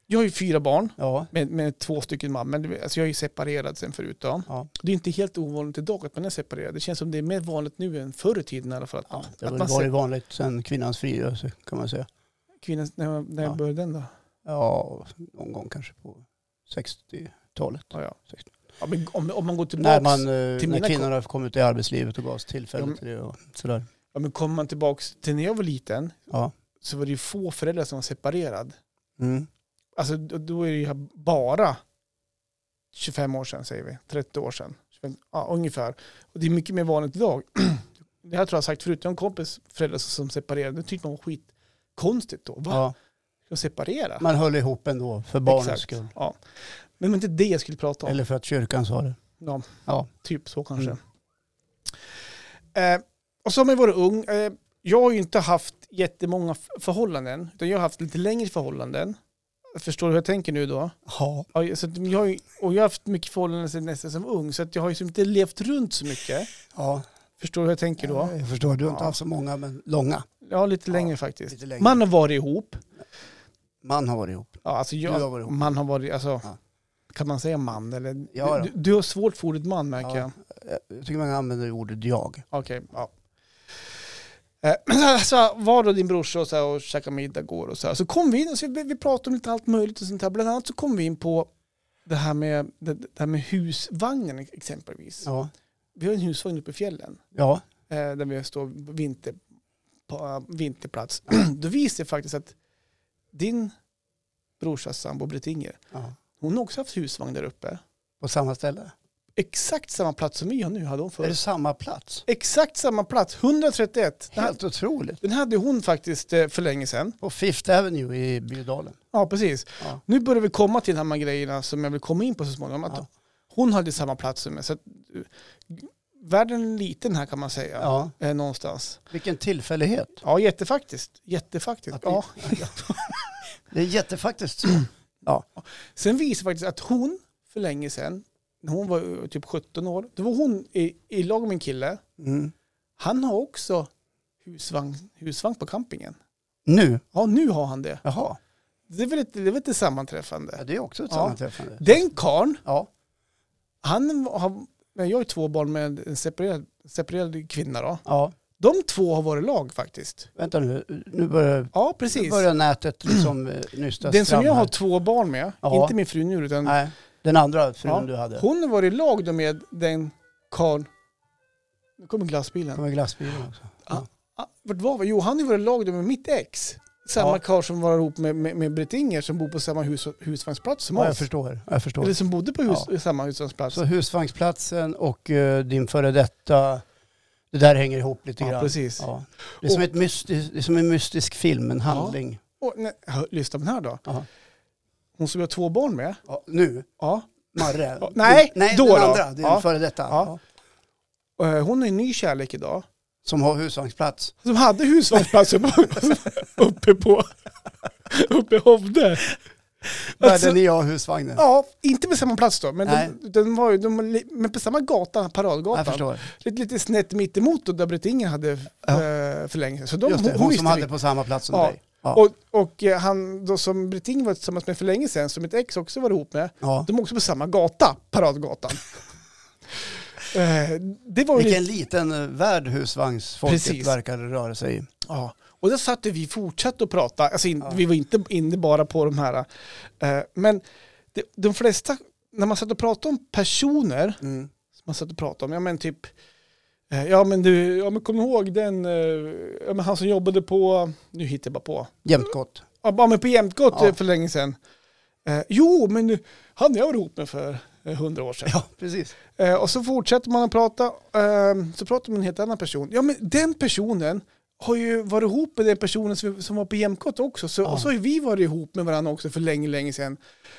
Speaker 2: jag har ju fyra barn
Speaker 1: Ja,
Speaker 2: med, med två stycken man, men det- alltså jag är ju separerad sen förut. Då.
Speaker 1: ja.
Speaker 2: Det är inte helt ovanligt idag att man är separerad. Det känns som det är mer vanligt nu än förr i tiden i alla fall.
Speaker 1: ja.
Speaker 2: Att,
Speaker 1: Det
Speaker 2: att
Speaker 1: har
Speaker 2: man
Speaker 1: väl
Speaker 2: ser
Speaker 1: varit vanligt sedan kvinnans frigörelse kan man säga.
Speaker 2: kvinnan, när jag, när jag
Speaker 1: Ja.
Speaker 2: började den då.
Speaker 1: Ja, någon gång kanske på 60-talet.
Speaker 2: Ja, ja. Ja, men om, om man går
Speaker 1: När,
Speaker 2: tillbaks,
Speaker 1: man, eh,
Speaker 2: Typ till
Speaker 1: när
Speaker 2: mina
Speaker 1: kvinnorna kom ut i arbetslivet och gavs tillfälle
Speaker 2: Ja, men-
Speaker 1: till det och sådär.
Speaker 2: ja, men kommer man tillbaks till när jag var liten
Speaker 1: Ja.
Speaker 2: så var det ju få föräldrar som var separerad.
Speaker 1: Mm.
Speaker 2: Alltså då då är det ju bara 25 år sedan säger vi, 30 år sedan. 25, ja, ungefär. Och det är mycket mer vanligt idag. det här tror jag har sagt förut, jag har en kompis föräldrar som separerade. Det tyckte man var skitkonstigt då. Va?
Speaker 1: Ja,
Speaker 2: Ska de separera?
Speaker 1: man höll ihop ändå för barnens
Speaker 2: Exakt,
Speaker 1: skull.
Speaker 2: Ja. Men det var inte det jag skulle prata om.
Speaker 1: Eller för att kyrkan sa det.
Speaker 2: Ja,
Speaker 1: Ja.
Speaker 2: typ så kanske.
Speaker 1: Mm.
Speaker 2: Eh, och så har man ju varit ung. Eh, jag har ju inte haft jättemånga f- förhållanden, utan jag har haft lite längre förhållanden. Förstår du hur jag tänker nu då?
Speaker 1: Ja.
Speaker 2: Ja, jag- så att jag har ju, och jag har haft mycket förhållanden sedan nästan som ung, så att jag har ju som inte levt runt så mycket.
Speaker 1: ja.
Speaker 2: Förstår du hur jag tänker då?
Speaker 1: Jag förstår, du har inte
Speaker 2: Ja.
Speaker 1: haft så många men långa.
Speaker 2: Ja, lite
Speaker 1: Ja,
Speaker 2: längre faktiskt.
Speaker 1: lite längre.
Speaker 2: Man har varit ihop.
Speaker 1: Man har varit ihop.
Speaker 2: Ja, alltså jag,
Speaker 1: Du har varit ihop.
Speaker 2: Man har varit, alltså,
Speaker 1: Ja.
Speaker 2: kan man säga man? Eller,
Speaker 1: Ja, då.
Speaker 2: du, du har svårt för ordet man
Speaker 1: Ja.
Speaker 2: märker jag.
Speaker 1: Jag tycker man använder ordet jag.
Speaker 2: Okej, ja. Eh, Men alltså, var då din brorsa och, så här, och käkade middag igår och så här. Så kom vi in och så vi, vi pratade om lite allt möjligt och sånt här. Bland annat så kom vi in på det här med, det, det här med husvagnen exempelvis.
Speaker 1: Ja.
Speaker 2: Vi har en husvagn uppe i fjällen.
Speaker 1: Ja.
Speaker 2: eh, där vi står på vinter, på eh, vinterplats, då visar det faktiskt att din brorsas sambo Britinger,
Speaker 1: ja.
Speaker 2: hon har också haft husvagn där uppe.
Speaker 1: På samma ställe.
Speaker 2: Exakt samma plats som vi har nu hade hon
Speaker 1: Är det
Speaker 2: förut.
Speaker 1: samma plats?
Speaker 2: Exakt samma plats, 131. Den,
Speaker 1: Helt otroligt.
Speaker 2: den hade hon faktiskt eh, för länge sedan.
Speaker 1: På Fifth Avenue i Bydalen.
Speaker 2: Ja, precis.
Speaker 1: Ja.
Speaker 2: Nu börjar vi komma till de här grejerna som jag vill komma in på så småningom. Att
Speaker 1: Ja.
Speaker 2: Hon hade samma plats som mig. Så att, eh, världen är liten här kan man säga.
Speaker 1: Ja.
Speaker 2: Eh, någonstans.
Speaker 1: Vilken tillfällighet.
Speaker 2: Ja, jättefaktiskt. Jättefaktiskt.
Speaker 1: Att vi-
Speaker 2: Ja.
Speaker 1: Det är jättefaktiskt så.
Speaker 2: Sen visar faktiskt att hon för länge sedan, när hon var eh, typ 17 år, då var hon i, i lag med en kille.
Speaker 1: Mm.
Speaker 2: Han har också husvagn, husvagn på campingen.
Speaker 1: Nu?
Speaker 2: Ja, nu har han det.
Speaker 1: Jaha.
Speaker 2: Det är väl ett, det är väl ett
Speaker 1: Ja,
Speaker 2: sammanträffande.
Speaker 1: det är också ett
Speaker 2: Ja.
Speaker 1: sammanträffande.
Speaker 2: Den karln,
Speaker 1: Ja.
Speaker 2: han har, men jag har ju två barn med en separerad, separerad kvinna då.
Speaker 1: ja.
Speaker 2: De två har varit lag faktiskt.
Speaker 1: Vänta nu, nu börjar,
Speaker 2: Ja,
Speaker 1: nu
Speaker 2: precis.
Speaker 1: börjar nätet liksom eh, nystas
Speaker 2: Den som
Speaker 1: fram
Speaker 2: jag
Speaker 1: här.
Speaker 2: har två barn med,
Speaker 1: Ja.
Speaker 2: inte min fru nu, utan
Speaker 1: Nej, den andra frun
Speaker 2: Ja.
Speaker 1: du hade.
Speaker 2: hon har varit i lag då med den karln. Nu kommer glassbilen.
Speaker 1: Kommer glassbilen också.
Speaker 2: Ah, Vart var vi? Jo, han har ju varit i lag då med mitt ex. Samma
Speaker 1: Ja.
Speaker 2: karl som var ihop med, med, med Britt Inger som bor på samma hus, husvagnsplats som
Speaker 1: Ja, jag
Speaker 2: oss.
Speaker 1: förstår. Jag förstår.
Speaker 2: Eller som bodde på hus, samma husvagnsplats.
Speaker 1: Så husvagnsplatsen och eh, din före detta, det där hänger ihop lite
Speaker 2: ja,
Speaker 1: grann.
Speaker 2: precis.
Speaker 1: Ja. Det, är som ett mystisk, det är som en mystisk film, en handling.
Speaker 2: Och, nej, hör, lyssna på den här då.
Speaker 1: Ja.
Speaker 2: Hon som jag har två barn med.
Speaker 1: Ja, nu,
Speaker 2: Ja.
Speaker 1: Marre.
Speaker 2: Ja, nej,
Speaker 1: nej
Speaker 2: då
Speaker 1: den
Speaker 2: då.
Speaker 1: andra, din
Speaker 2: Ja.
Speaker 1: före detta.
Speaker 2: Ja. Eh, Hon har en ny kärlek idag.
Speaker 1: Som har husvagnsplats.
Speaker 2: Som hade husvagnsplats uppe, uppe på uppe i Hovde.
Speaker 1: Där
Speaker 2: Alltså-
Speaker 1: den är jag husvagnen.
Speaker 2: Ja, inte på samma plats då, men,
Speaker 1: Nej.
Speaker 2: de, den var ju, de, var li- men på samma gata,
Speaker 1: jag
Speaker 2: paradgatan.
Speaker 1: förstår.
Speaker 2: lite, lite snett mittemot då, där Britt Inger hade
Speaker 1: Ja.
Speaker 2: eh, för länge sedan. Så de,
Speaker 1: Just det, hon, som
Speaker 2: visste
Speaker 1: hade
Speaker 2: vi.
Speaker 1: på samma plats som
Speaker 2: Ja.
Speaker 1: dig. Ja.
Speaker 2: Och, och eh, han då som Britt Inger var tillsammans med för länge sedan, som mitt ex också var ihop med,
Speaker 1: ja.
Speaker 2: de var också på samma gata, Paradgatan. eh, det var ju lite,
Speaker 1: Vilken liten eh, värld husvagnsfolket
Speaker 2: Precis.
Speaker 1: verkade röra sig i.
Speaker 2: ja. Och där satt vi fortsatt att prata, alltså in,
Speaker 1: Ja.
Speaker 2: vi var inte inne bara på de här, eh, men det, de flesta, när man satt och pratade om personer,
Speaker 1: Mm.
Speaker 2: som man satt och pratade om. Ja men typ, eh, ja men du, ja men kom ihåg den, eh, ja men han som jobbade på, nu hittar jag bara på,
Speaker 1: Jämt gott.
Speaker 2: ja bara men på Jämtgott
Speaker 1: Ja.
Speaker 2: eh, för länge sedan. Eh, jo men han jag var ihop med för eh, hundra år sedan.
Speaker 1: Ja, precis.
Speaker 2: Eh, och så fortsätter man att prata, eh, så pratar man med en helt annan person. Ja men den personen har ju varit ihop med den personen som, som var på Jämtgott också. Så,
Speaker 1: Ja.
Speaker 2: Och så har ju vi varit ihop med varandra också för länge, länge sedan.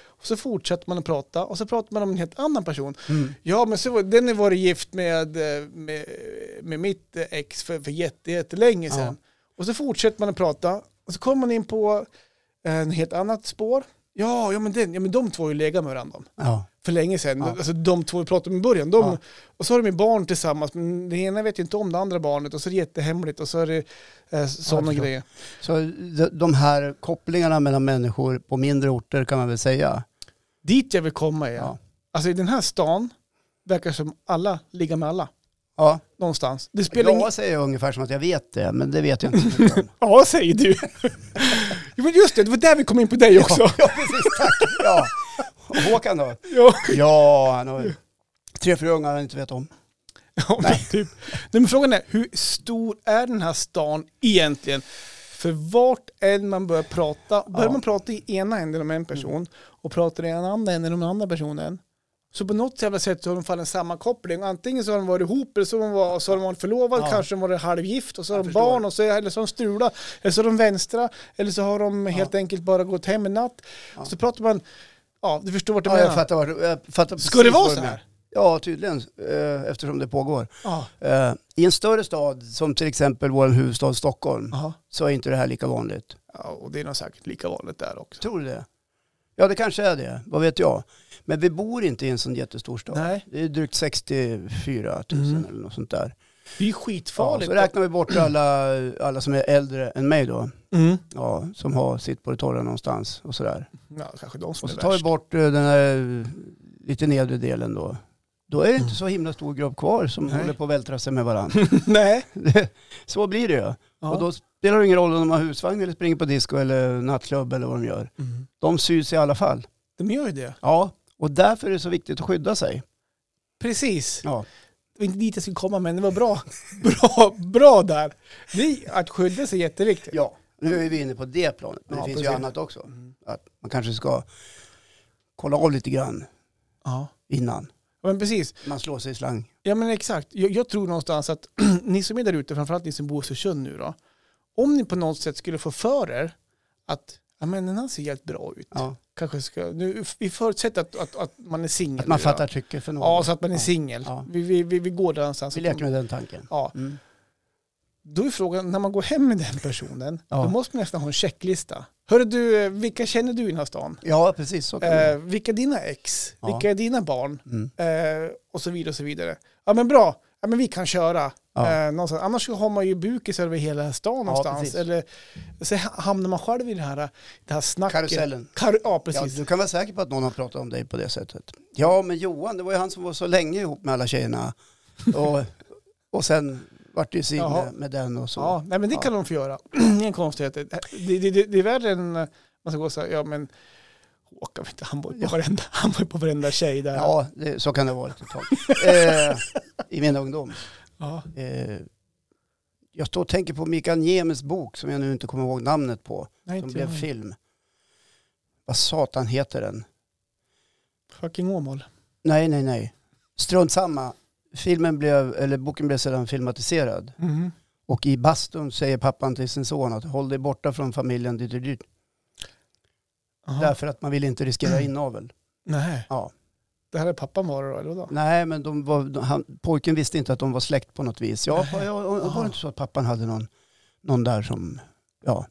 Speaker 2: Och så fortsätter man att prata och så pratar man om en helt annan person.
Speaker 1: Mm.
Speaker 2: Ja, men så, var- den har varit gift med, eh, med, med mitt eh, ex för, för jätte, jättelänge sedan. Och så fortsätter man att prata och så kommer man in på en helt annat spår. Ja, ja, men, den, ja, men de två har ju legat med varandra
Speaker 1: Ja.
Speaker 2: för länge sedan.
Speaker 1: Ja.
Speaker 2: Alltså, de två vi pratade om i början. De,
Speaker 1: Ja.
Speaker 2: Och så har de ju barn tillsammans, men det ena vet ju inte om det andra barnet och så är det jättehemligt och så är det eh, sådana
Speaker 1: förstår.
Speaker 2: grejer.
Speaker 1: Så de- de här kopplingarna mellan människor på mindre orter kan man väl säga.
Speaker 2: Dit jag vill komma är,
Speaker 1: Ja.
Speaker 2: alltså i den här stan verkar som alla ligger med alla.
Speaker 1: Ja.
Speaker 2: Någonstans. Det spelar ingen-
Speaker 1: Jag säger ungefär som att jag vet det, men det vet jag inte. så mycket om.
Speaker 2: Ja, säger du. jo, men just det, det var där vi kom in på dig också.
Speaker 1: Ja, precis. Tack. Ja. Och Håkan då?
Speaker 2: Ja,
Speaker 1: Ja, han har tre, fyra ungar han inte vet om.
Speaker 2: ja Nej. typ. Nej, men frågan är, hur stor är den här stan egentligen? För vart än man börjar prata, börjar
Speaker 1: Ja. Mm.
Speaker 2: man prata i ena änden om en person och pratar i den andra änden om den andra personen, Så på något jävla sätt så har de fallit en sammankoppling. Antingen så har de varit ihop eller så har de, var, så har de varit förlovade,
Speaker 1: Ja.
Speaker 2: kanske de varit halvgift och så har
Speaker 1: Jag
Speaker 2: de
Speaker 1: förstår.
Speaker 2: barn och så, eller så har de strula, eller så har de vänstra, eller så har de helt enkelt bara gått hem en natt.
Speaker 1: Ja.
Speaker 2: Så pratar man, ja du förstår vart jag
Speaker 1: Ja, jag
Speaker 2: menar.
Speaker 1: fattar, vad- jag fattar
Speaker 2: Ska det
Speaker 1: precis
Speaker 2: vara
Speaker 1: vad du
Speaker 2: så
Speaker 1: menar.
Speaker 2: här?
Speaker 1: Ja, tydligen. eh, Eftersom det pågår.
Speaker 2: Ja.
Speaker 1: Eh, I en större stad, som till exempel vår huvudstad Stockholm,
Speaker 2: Aha.
Speaker 1: så är inte det här lika vanligt.
Speaker 2: Ja, och det är nog säkert lika vanligt där också.
Speaker 1: Tror du det? Ja, det kanske är det. Vad vet jag? Men vi bor inte i en sån jättestor stad.
Speaker 2: Nej,
Speaker 1: Det är drygt 64 000
Speaker 2: Mm.
Speaker 1: eller något sånt där.
Speaker 2: det är ju
Speaker 1: Ja,
Speaker 2: skitfarligt.
Speaker 1: så räknar vi bort alla, alla som är äldre än mig då.
Speaker 2: mm.
Speaker 1: Ja, som har sitt på det torra någonstans och sådär.
Speaker 2: ja, kanske de som
Speaker 1: Och så
Speaker 2: är
Speaker 1: tar vi
Speaker 2: värst.
Speaker 1: bort eh, den här eh, lite nedre delen då. Då är det inte så himla stor grupp kvar som
Speaker 2: Nej.
Speaker 1: håller på att vältra sig med varandra.
Speaker 2: Nej.
Speaker 1: så blir det ju.
Speaker 2: Ja.
Speaker 1: Och då spelar det ingen roll om de har husvagn eller springer på disco eller nattklubb eller vad de gör.
Speaker 2: mm.
Speaker 1: De syns i alla fall.
Speaker 2: De gör ju det.
Speaker 1: Ja, och därför är det så viktigt att skydda sig.
Speaker 2: Precis.
Speaker 1: Ja,
Speaker 2: Det var inte dit jag skulle komma men det var bra. Bra, bra där. Det, är- att skydda sig är jätteviktigt.
Speaker 1: ja. nu är vi inne på det planet. Men
Speaker 2: Ja,
Speaker 1: det finns ju
Speaker 2: precis.
Speaker 1: annat också.
Speaker 2: Mm.
Speaker 1: Att man kanske ska kolla av lite grann
Speaker 2: Ja.
Speaker 1: innan
Speaker 2: Men precis.
Speaker 1: man slår sig i slang.
Speaker 2: Ja men exakt. Jag, jag tror någonstans att ni som är där ute, framförallt ni som bor i Östersund nu då. Om ni på något sätt skulle få för er att ja, men den här ser helt bra ut.
Speaker 1: Ja.
Speaker 2: Kanske ska, nu, vi förutsätter att, att, att man är singel.
Speaker 1: Att man
Speaker 2: nu
Speaker 1: fattar trycket för
Speaker 2: Då.
Speaker 1: någon.
Speaker 2: Ja, så att man är
Speaker 1: Ja.
Speaker 2: singel.
Speaker 1: Ja.
Speaker 2: Vi, vi, vi, vi går där någonstans.
Speaker 1: Vi leker med den tanken.
Speaker 2: Ja,
Speaker 1: Mm.
Speaker 2: då är frågan, när man går hem med den personen,
Speaker 1: Ja.
Speaker 2: då måste man nästan ha en checklista. Hörru du, eh, vilka känner du i den här stan?
Speaker 1: Ja, precis så kan
Speaker 2: Eh,
Speaker 1: man.
Speaker 2: vilka är dina ex?
Speaker 1: Ja.
Speaker 2: Vilka är dina barn?
Speaker 1: Mm.
Speaker 2: Eh, och så vidare och så vidare. Ja men bra, ja, men vi kan köra.
Speaker 1: Ja.
Speaker 2: Eh, någonstans. Annars så har man ju bukis över hela stan någonstans.
Speaker 1: precis.
Speaker 2: Eller så ha- hamnar man själv i det här, eh, det här snacket.
Speaker 1: Karusellen.
Speaker 2: Kar- ja
Speaker 1: Ja,
Speaker 2: precis.
Speaker 1: du kan vara säker på att någon har pratat om dig på det sättet. Ja, men Johan, det var ju han som var så länge ihop med alla tjejerna. Och, och sen vart det ju sig
Speaker 2: Jaha.
Speaker 1: med, med den och så.
Speaker 2: Ja, nej, men det kan de få göra. Ingen konstighet. Det, det, det, det är värre än, eh, man ska gå så här, ja men Håkan, vet du, han var ju på varenda, han var ju på varenda tjej där.
Speaker 1: Ja, det, så kan det ha varit ett tag. eh, I min ungdom.
Speaker 2: Ja.
Speaker 1: Eh, jag står och tänker på Mikael Niemes bok som jag nu inte kommer ihåg namnet på.
Speaker 2: Nej,
Speaker 1: Som
Speaker 2: inte
Speaker 1: blev
Speaker 2: jag.
Speaker 1: film. Vad satan heter den?
Speaker 2: Fucking Åmål.
Speaker 1: Nej, nej, nej. Strunt samma. Filmen blev, eller boken blev sedan filmatiserad.
Speaker 2: Mhm.
Speaker 1: Och i bastun säger pappan till sin son att håll dig borta från familjen, det är dyrt.
Speaker 2: Jaha.
Speaker 1: Därför att man vill inte riskera inavel.
Speaker 2: Nej,
Speaker 1: Ja.
Speaker 2: det här är pappan var det då, eller vadå?
Speaker 1: Nej, men de var, de, han, pojken visste inte att de var släkt på något vis. Ja,
Speaker 2: Nej.
Speaker 1: ja, ja, var
Speaker 2: Aha.
Speaker 1: det inte så att pappan hade någon, någon där som, ja, man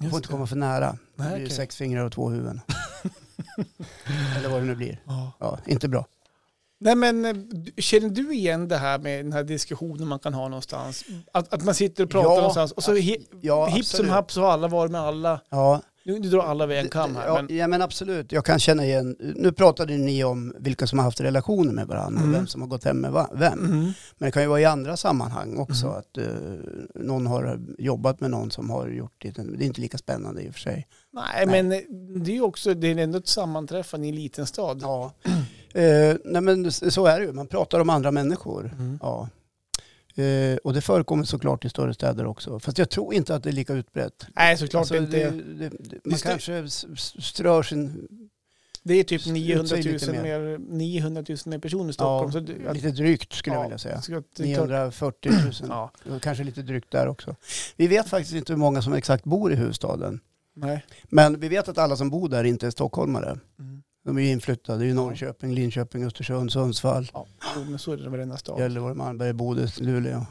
Speaker 2: Just
Speaker 1: får inte
Speaker 2: det.
Speaker 1: komma för nära. Det
Speaker 2: Nej,
Speaker 1: blir ju
Speaker 2: okej.
Speaker 1: sex fingrar och två huvuden. Eller vad det nu blir.
Speaker 2: Ja.
Speaker 1: Ja, inte bra.
Speaker 2: Nej men eh, du- känner du igen det här med den här diskussionen man kan ha någonstans? Att, att man sitter och pratar
Speaker 1: Ja. alltså,
Speaker 2: någonstans och så hi,
Speaker 1: Ja,
Speaker 2: hipp som happ så har alla varit med alla.
Speaker 1: Ja,
Speaker 2: Nu, nu drar alla över en kam här.
Speaker 1: Ja,
Speaker 2: Men,
Speaker 1: ja men absolut, jag kan känna igen. Nu pratade ni om vilka som har haft relationer med varandra
Speaker 2: Mm.
Speaker 1: och vem som har gått hem med va- vem.
Speaker 2: Mhm.
Speaker 1: Men det kan ju vara i andra sammanhang också
Speaker 2: Mm.
Speaker 1: att eh, någon har jobbat med någon som har gjort det. Det är inte lika spännande i och för sig.
Speaker 2: Nej,
Speaker 1: Nej.
Speaker 2: men eh, det är ju också, det är ändå ett sammanträffande i en liten stad.
Speaker 1: Ja. eh, nej men s- så är det ju, man pratar om andra människor.
Speaker 2: Mm.
Speaker 1: Ja. Eh, och det förekommer såklart i större städer också. Fast jag tror inte att det är lika utbrett.
Speaker 2: Nej, såklart
Speaker 1: Alltså, det,
Speaker 2: inte. Det,
Speaker 1: det, det, man
Speaker 2: Just det.
Speaker 1: kanske s- s- strör sin,
Speaker 2: är typ
Speaker 1: Utsäg
Speaker 2: 900 000
Speaker 1: lite
Speaker 2: mer.
Speaker 1: mer.
Speaker 2: 900 000 mer personer i Stockholm.
Speaker 1: ja,
Speaker 2: så det, att-
Speaker 1: lite drygt skulle
Speaker 2: ja,
Speaker 1: jag vilja säga.
Speaker 2: så att det är klart-
Speaker 1: 940 000.
Speaker 2: Ja,
Speaker 1: Och Kanske lite drygt där också. Vi vet faktiskt inte hur många som exakt bor i huvudstaden.
Speaker 2: nej.
Speaker 1: Men vi vet att alla som bor där inte är stockholmare.
Speaker 2: Mm.
Speaker 1: De är ju inflyttade i Norrköping, Linköping, Östersund, Sundsvall,
Speaker 2: Ja, jo, men så är det i varenda stad.
Speaker 1: Gällivare, Malmberg, Bodes, Luleå.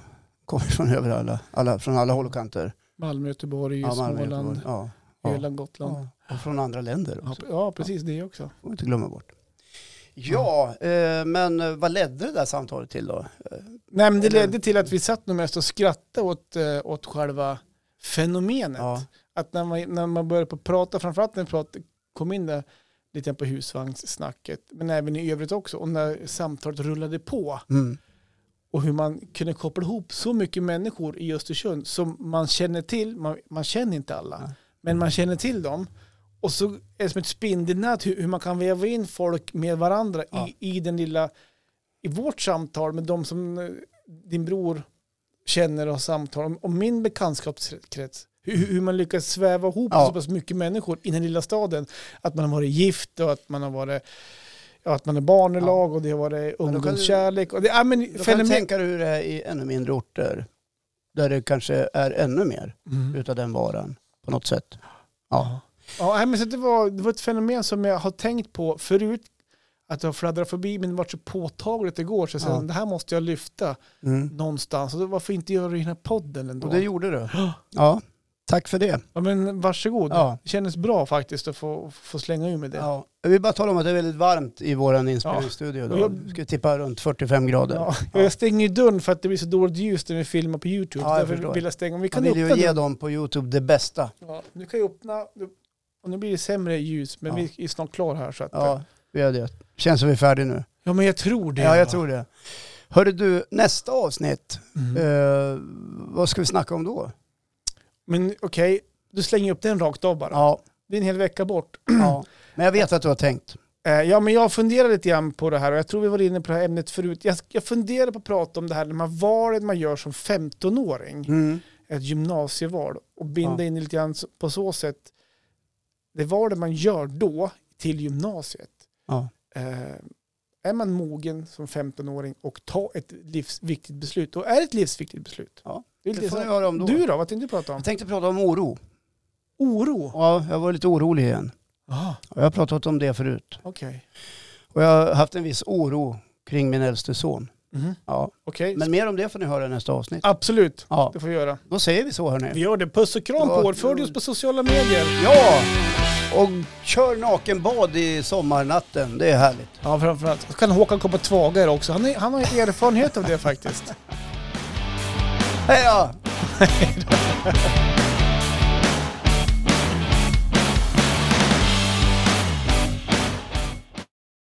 Speaker 1: Kommer från över alla, alla, från alla håll och kanter.
Speaker 2: Malmö, Göteborg,
Speaker 1: Ja, Malmö,
Speaker 2: Småland,
Speaker 1: Göteborg. ja, ja,
Speaker 2: Öland, Gotland.
Speaker 1: ja. Och från andra länder
Speaker 2: Ja,
Speaker 1: också.
Speaker 2: ja, precis det också.
Speaker 1: Får vi inte glömma bort. Ja, eh, men eh, vad ledde det där samtalet till då? Eh,
Speaker 2: Nej, men det
Speaker 1: Eller-
Speaker 2: ledde till att vi satt nog mest och skrattade åt, eh, åt själva fenomenet.
Speaker 1: Ja,
Speaker 2: Att när man, när man började på prata, framförallt när vi prat, kom in där lite grann på husvagnssnacket, men även i övrigt också, och när samtalet rullade på
Speaker 1: mm.
Speaker 2: och hur man kunde koppla ihop så mycket människor i Östersund som man känner till, man, man känner inte alla,
Speaker 1: Nej.
Speaker 2: men man känner till dem. Och så är det som ett spindelnät hur, hur man kan väva in folk med varandra
Speaker 1: Ja.
Speaker 2: i, i den lilla, i vårt samtal med de som eh, din bror känner och har samtal om, om min bekantskapskrets. Hur, hur hur man lyckas sväva ihop
Speaker 1: Ja.
Speaker 2: så pass mycket människor i den lilla staden. Att man har varit gift och att man har varit ja, att man är barnelag och det var det
Speaker 1: du-
Speaker 2: ungdomskärlek. Och det, ja, men
Speaker 1: Då kan du
Speaker 2: fenomen-
Speaker 1: tänka dig hur det är i ännu mindre orter. Där det kanske är ännu mer
Speaker 2: Mm.
Speaker 1: utav den varan på något sätt. Ja.
Speaker 2: Ja, nej, men så det, var, det var ett fenomen som jag har tänkt på förut, att jag har fladdrat förbi, men det var så påtagligt igår, så jag sa,
Speaker 1: Ja.
Speaker 2: det här måste jag lyfta
Speaker 1: Mm.
Speaker 2: någonstans. Och då, varför inte göra det i den här podden ändå?
Speaker 1: Och det gjorde du. Ja, tack för det.
Speaker 2: Ja, men varsågod.
Speaker 1: Ja.
Speaker 2: Det kändes bra faktiskt att få, få slänga ur med det.
Speaker 1: Ja. Jag vill bara tala om att det är väldigt varmt i vår inspelningsstudio.
Speaker 2: Ja.
Speaker 1: Då. Vi ska tippa runt 45 grader.
Speaker 2: Ja,
Speaker 1: Ja.
Speaker 2: Jag stänger ju dörren för att det blir så dåligt ljus när vi filmar på YouTube.
Speaker 1: Ja, jag
Speaker 2: Därför
Speaker 1: förstår.
Speaker 2: vill jag stänga. Om vi
Speaker 1: Jag
Speaker 2: kan
Speaker 1: vill
Speaker 2: öppna
Speaker 1: ju ge
Speaker 2: dörren.
Speaker 1: dem på YouTube det bästa.
Speaker 2: Ja, nu kan jag öppna. Och nu blir det sämre ljus, men
Speaker 1: Ja.
Speaker 2: vi är snart klar här. Så att, ja.
Speaker 1: Ja, vi gör det. Känns som vi är färdiga nu.
Speaker 2: ja, men jag tror det.
Speaker 1: Ja, jag
Speaker 2: va?
Speaker 1: tror det. Hörru du, nästa avsnitt,
Speaker 2: Mm.
Speaker 1: eh, vad ska vi snacka om då?
Speaker 2: Men okej, du slänger jag upp den rakt av bara.
Speaker 1: Ja,
Speaker 2: Det är en hel vecka bort.
Speaker 1: ja, men jag vet att du har tänkt.
Speaker 2: Eh, Ja, men jag funderar lite grann på det här och jag tror vi var inne på det här ämnet förut. Jag, jag funderar på att prata om det här när man valen man gör som 15-åring. ett gymnasieval och binda
Speaker 1: Ja.
Speaker 2: in det lite grann så- på så sätt det valet man gör då till gymnasiet.
Speaker 1: Ja.
Speaker 2: Eh, är man mogen som 15-åring och ta ett livsviktigt beslut, då är det ett livsviktigt beslut.
Speaker 1: Ja,
Speaker 2: Det är lite
Speaker 1: Det får
Speaker 2: så-
Speaker 1: vi höra om då.
Speaker 2: Du då, vad tänkte du prata om?
Speaker 1: Jag tänkte prata om oro.
Speaker 2: Oro?
Speaker 1: Ja, jag var lite orolig igen.
Speaker 2: Aha,
Speaker 1: Och Jag har pratat om det förut.
Speaker 2: Ah, okej.
Speaker 1: Och jag har haft en viss oro kring min äldste son.
Speaker 2: Mhm,
Speaker 1: Ja.
Speaker 2: Okej,
Speaker 1: Men mer om det får ni höra i nästa avsnitt.
Speaker 2: absolut.
Speaker 1: Ja,
Speaker 2: Det får vi göra.
Speaker 1: då säger vi så hörni.
Speaker 2: Vi gör det. Puss och kram på
Speaker 1: Ja,
Speaker 2: er. Följ
Speaker 1: jo.
Speaker 2: oss på sociala medier.
Speaker 1: Ja, och kör nakenbad i sommarnatten. Det är härligt.
Speaker 2: Ja, framförallt. Så kan Håkan komma tvagare också. Han, är, han har ju erfarenhet av det faktiskt.
Speaker 1: Hej då!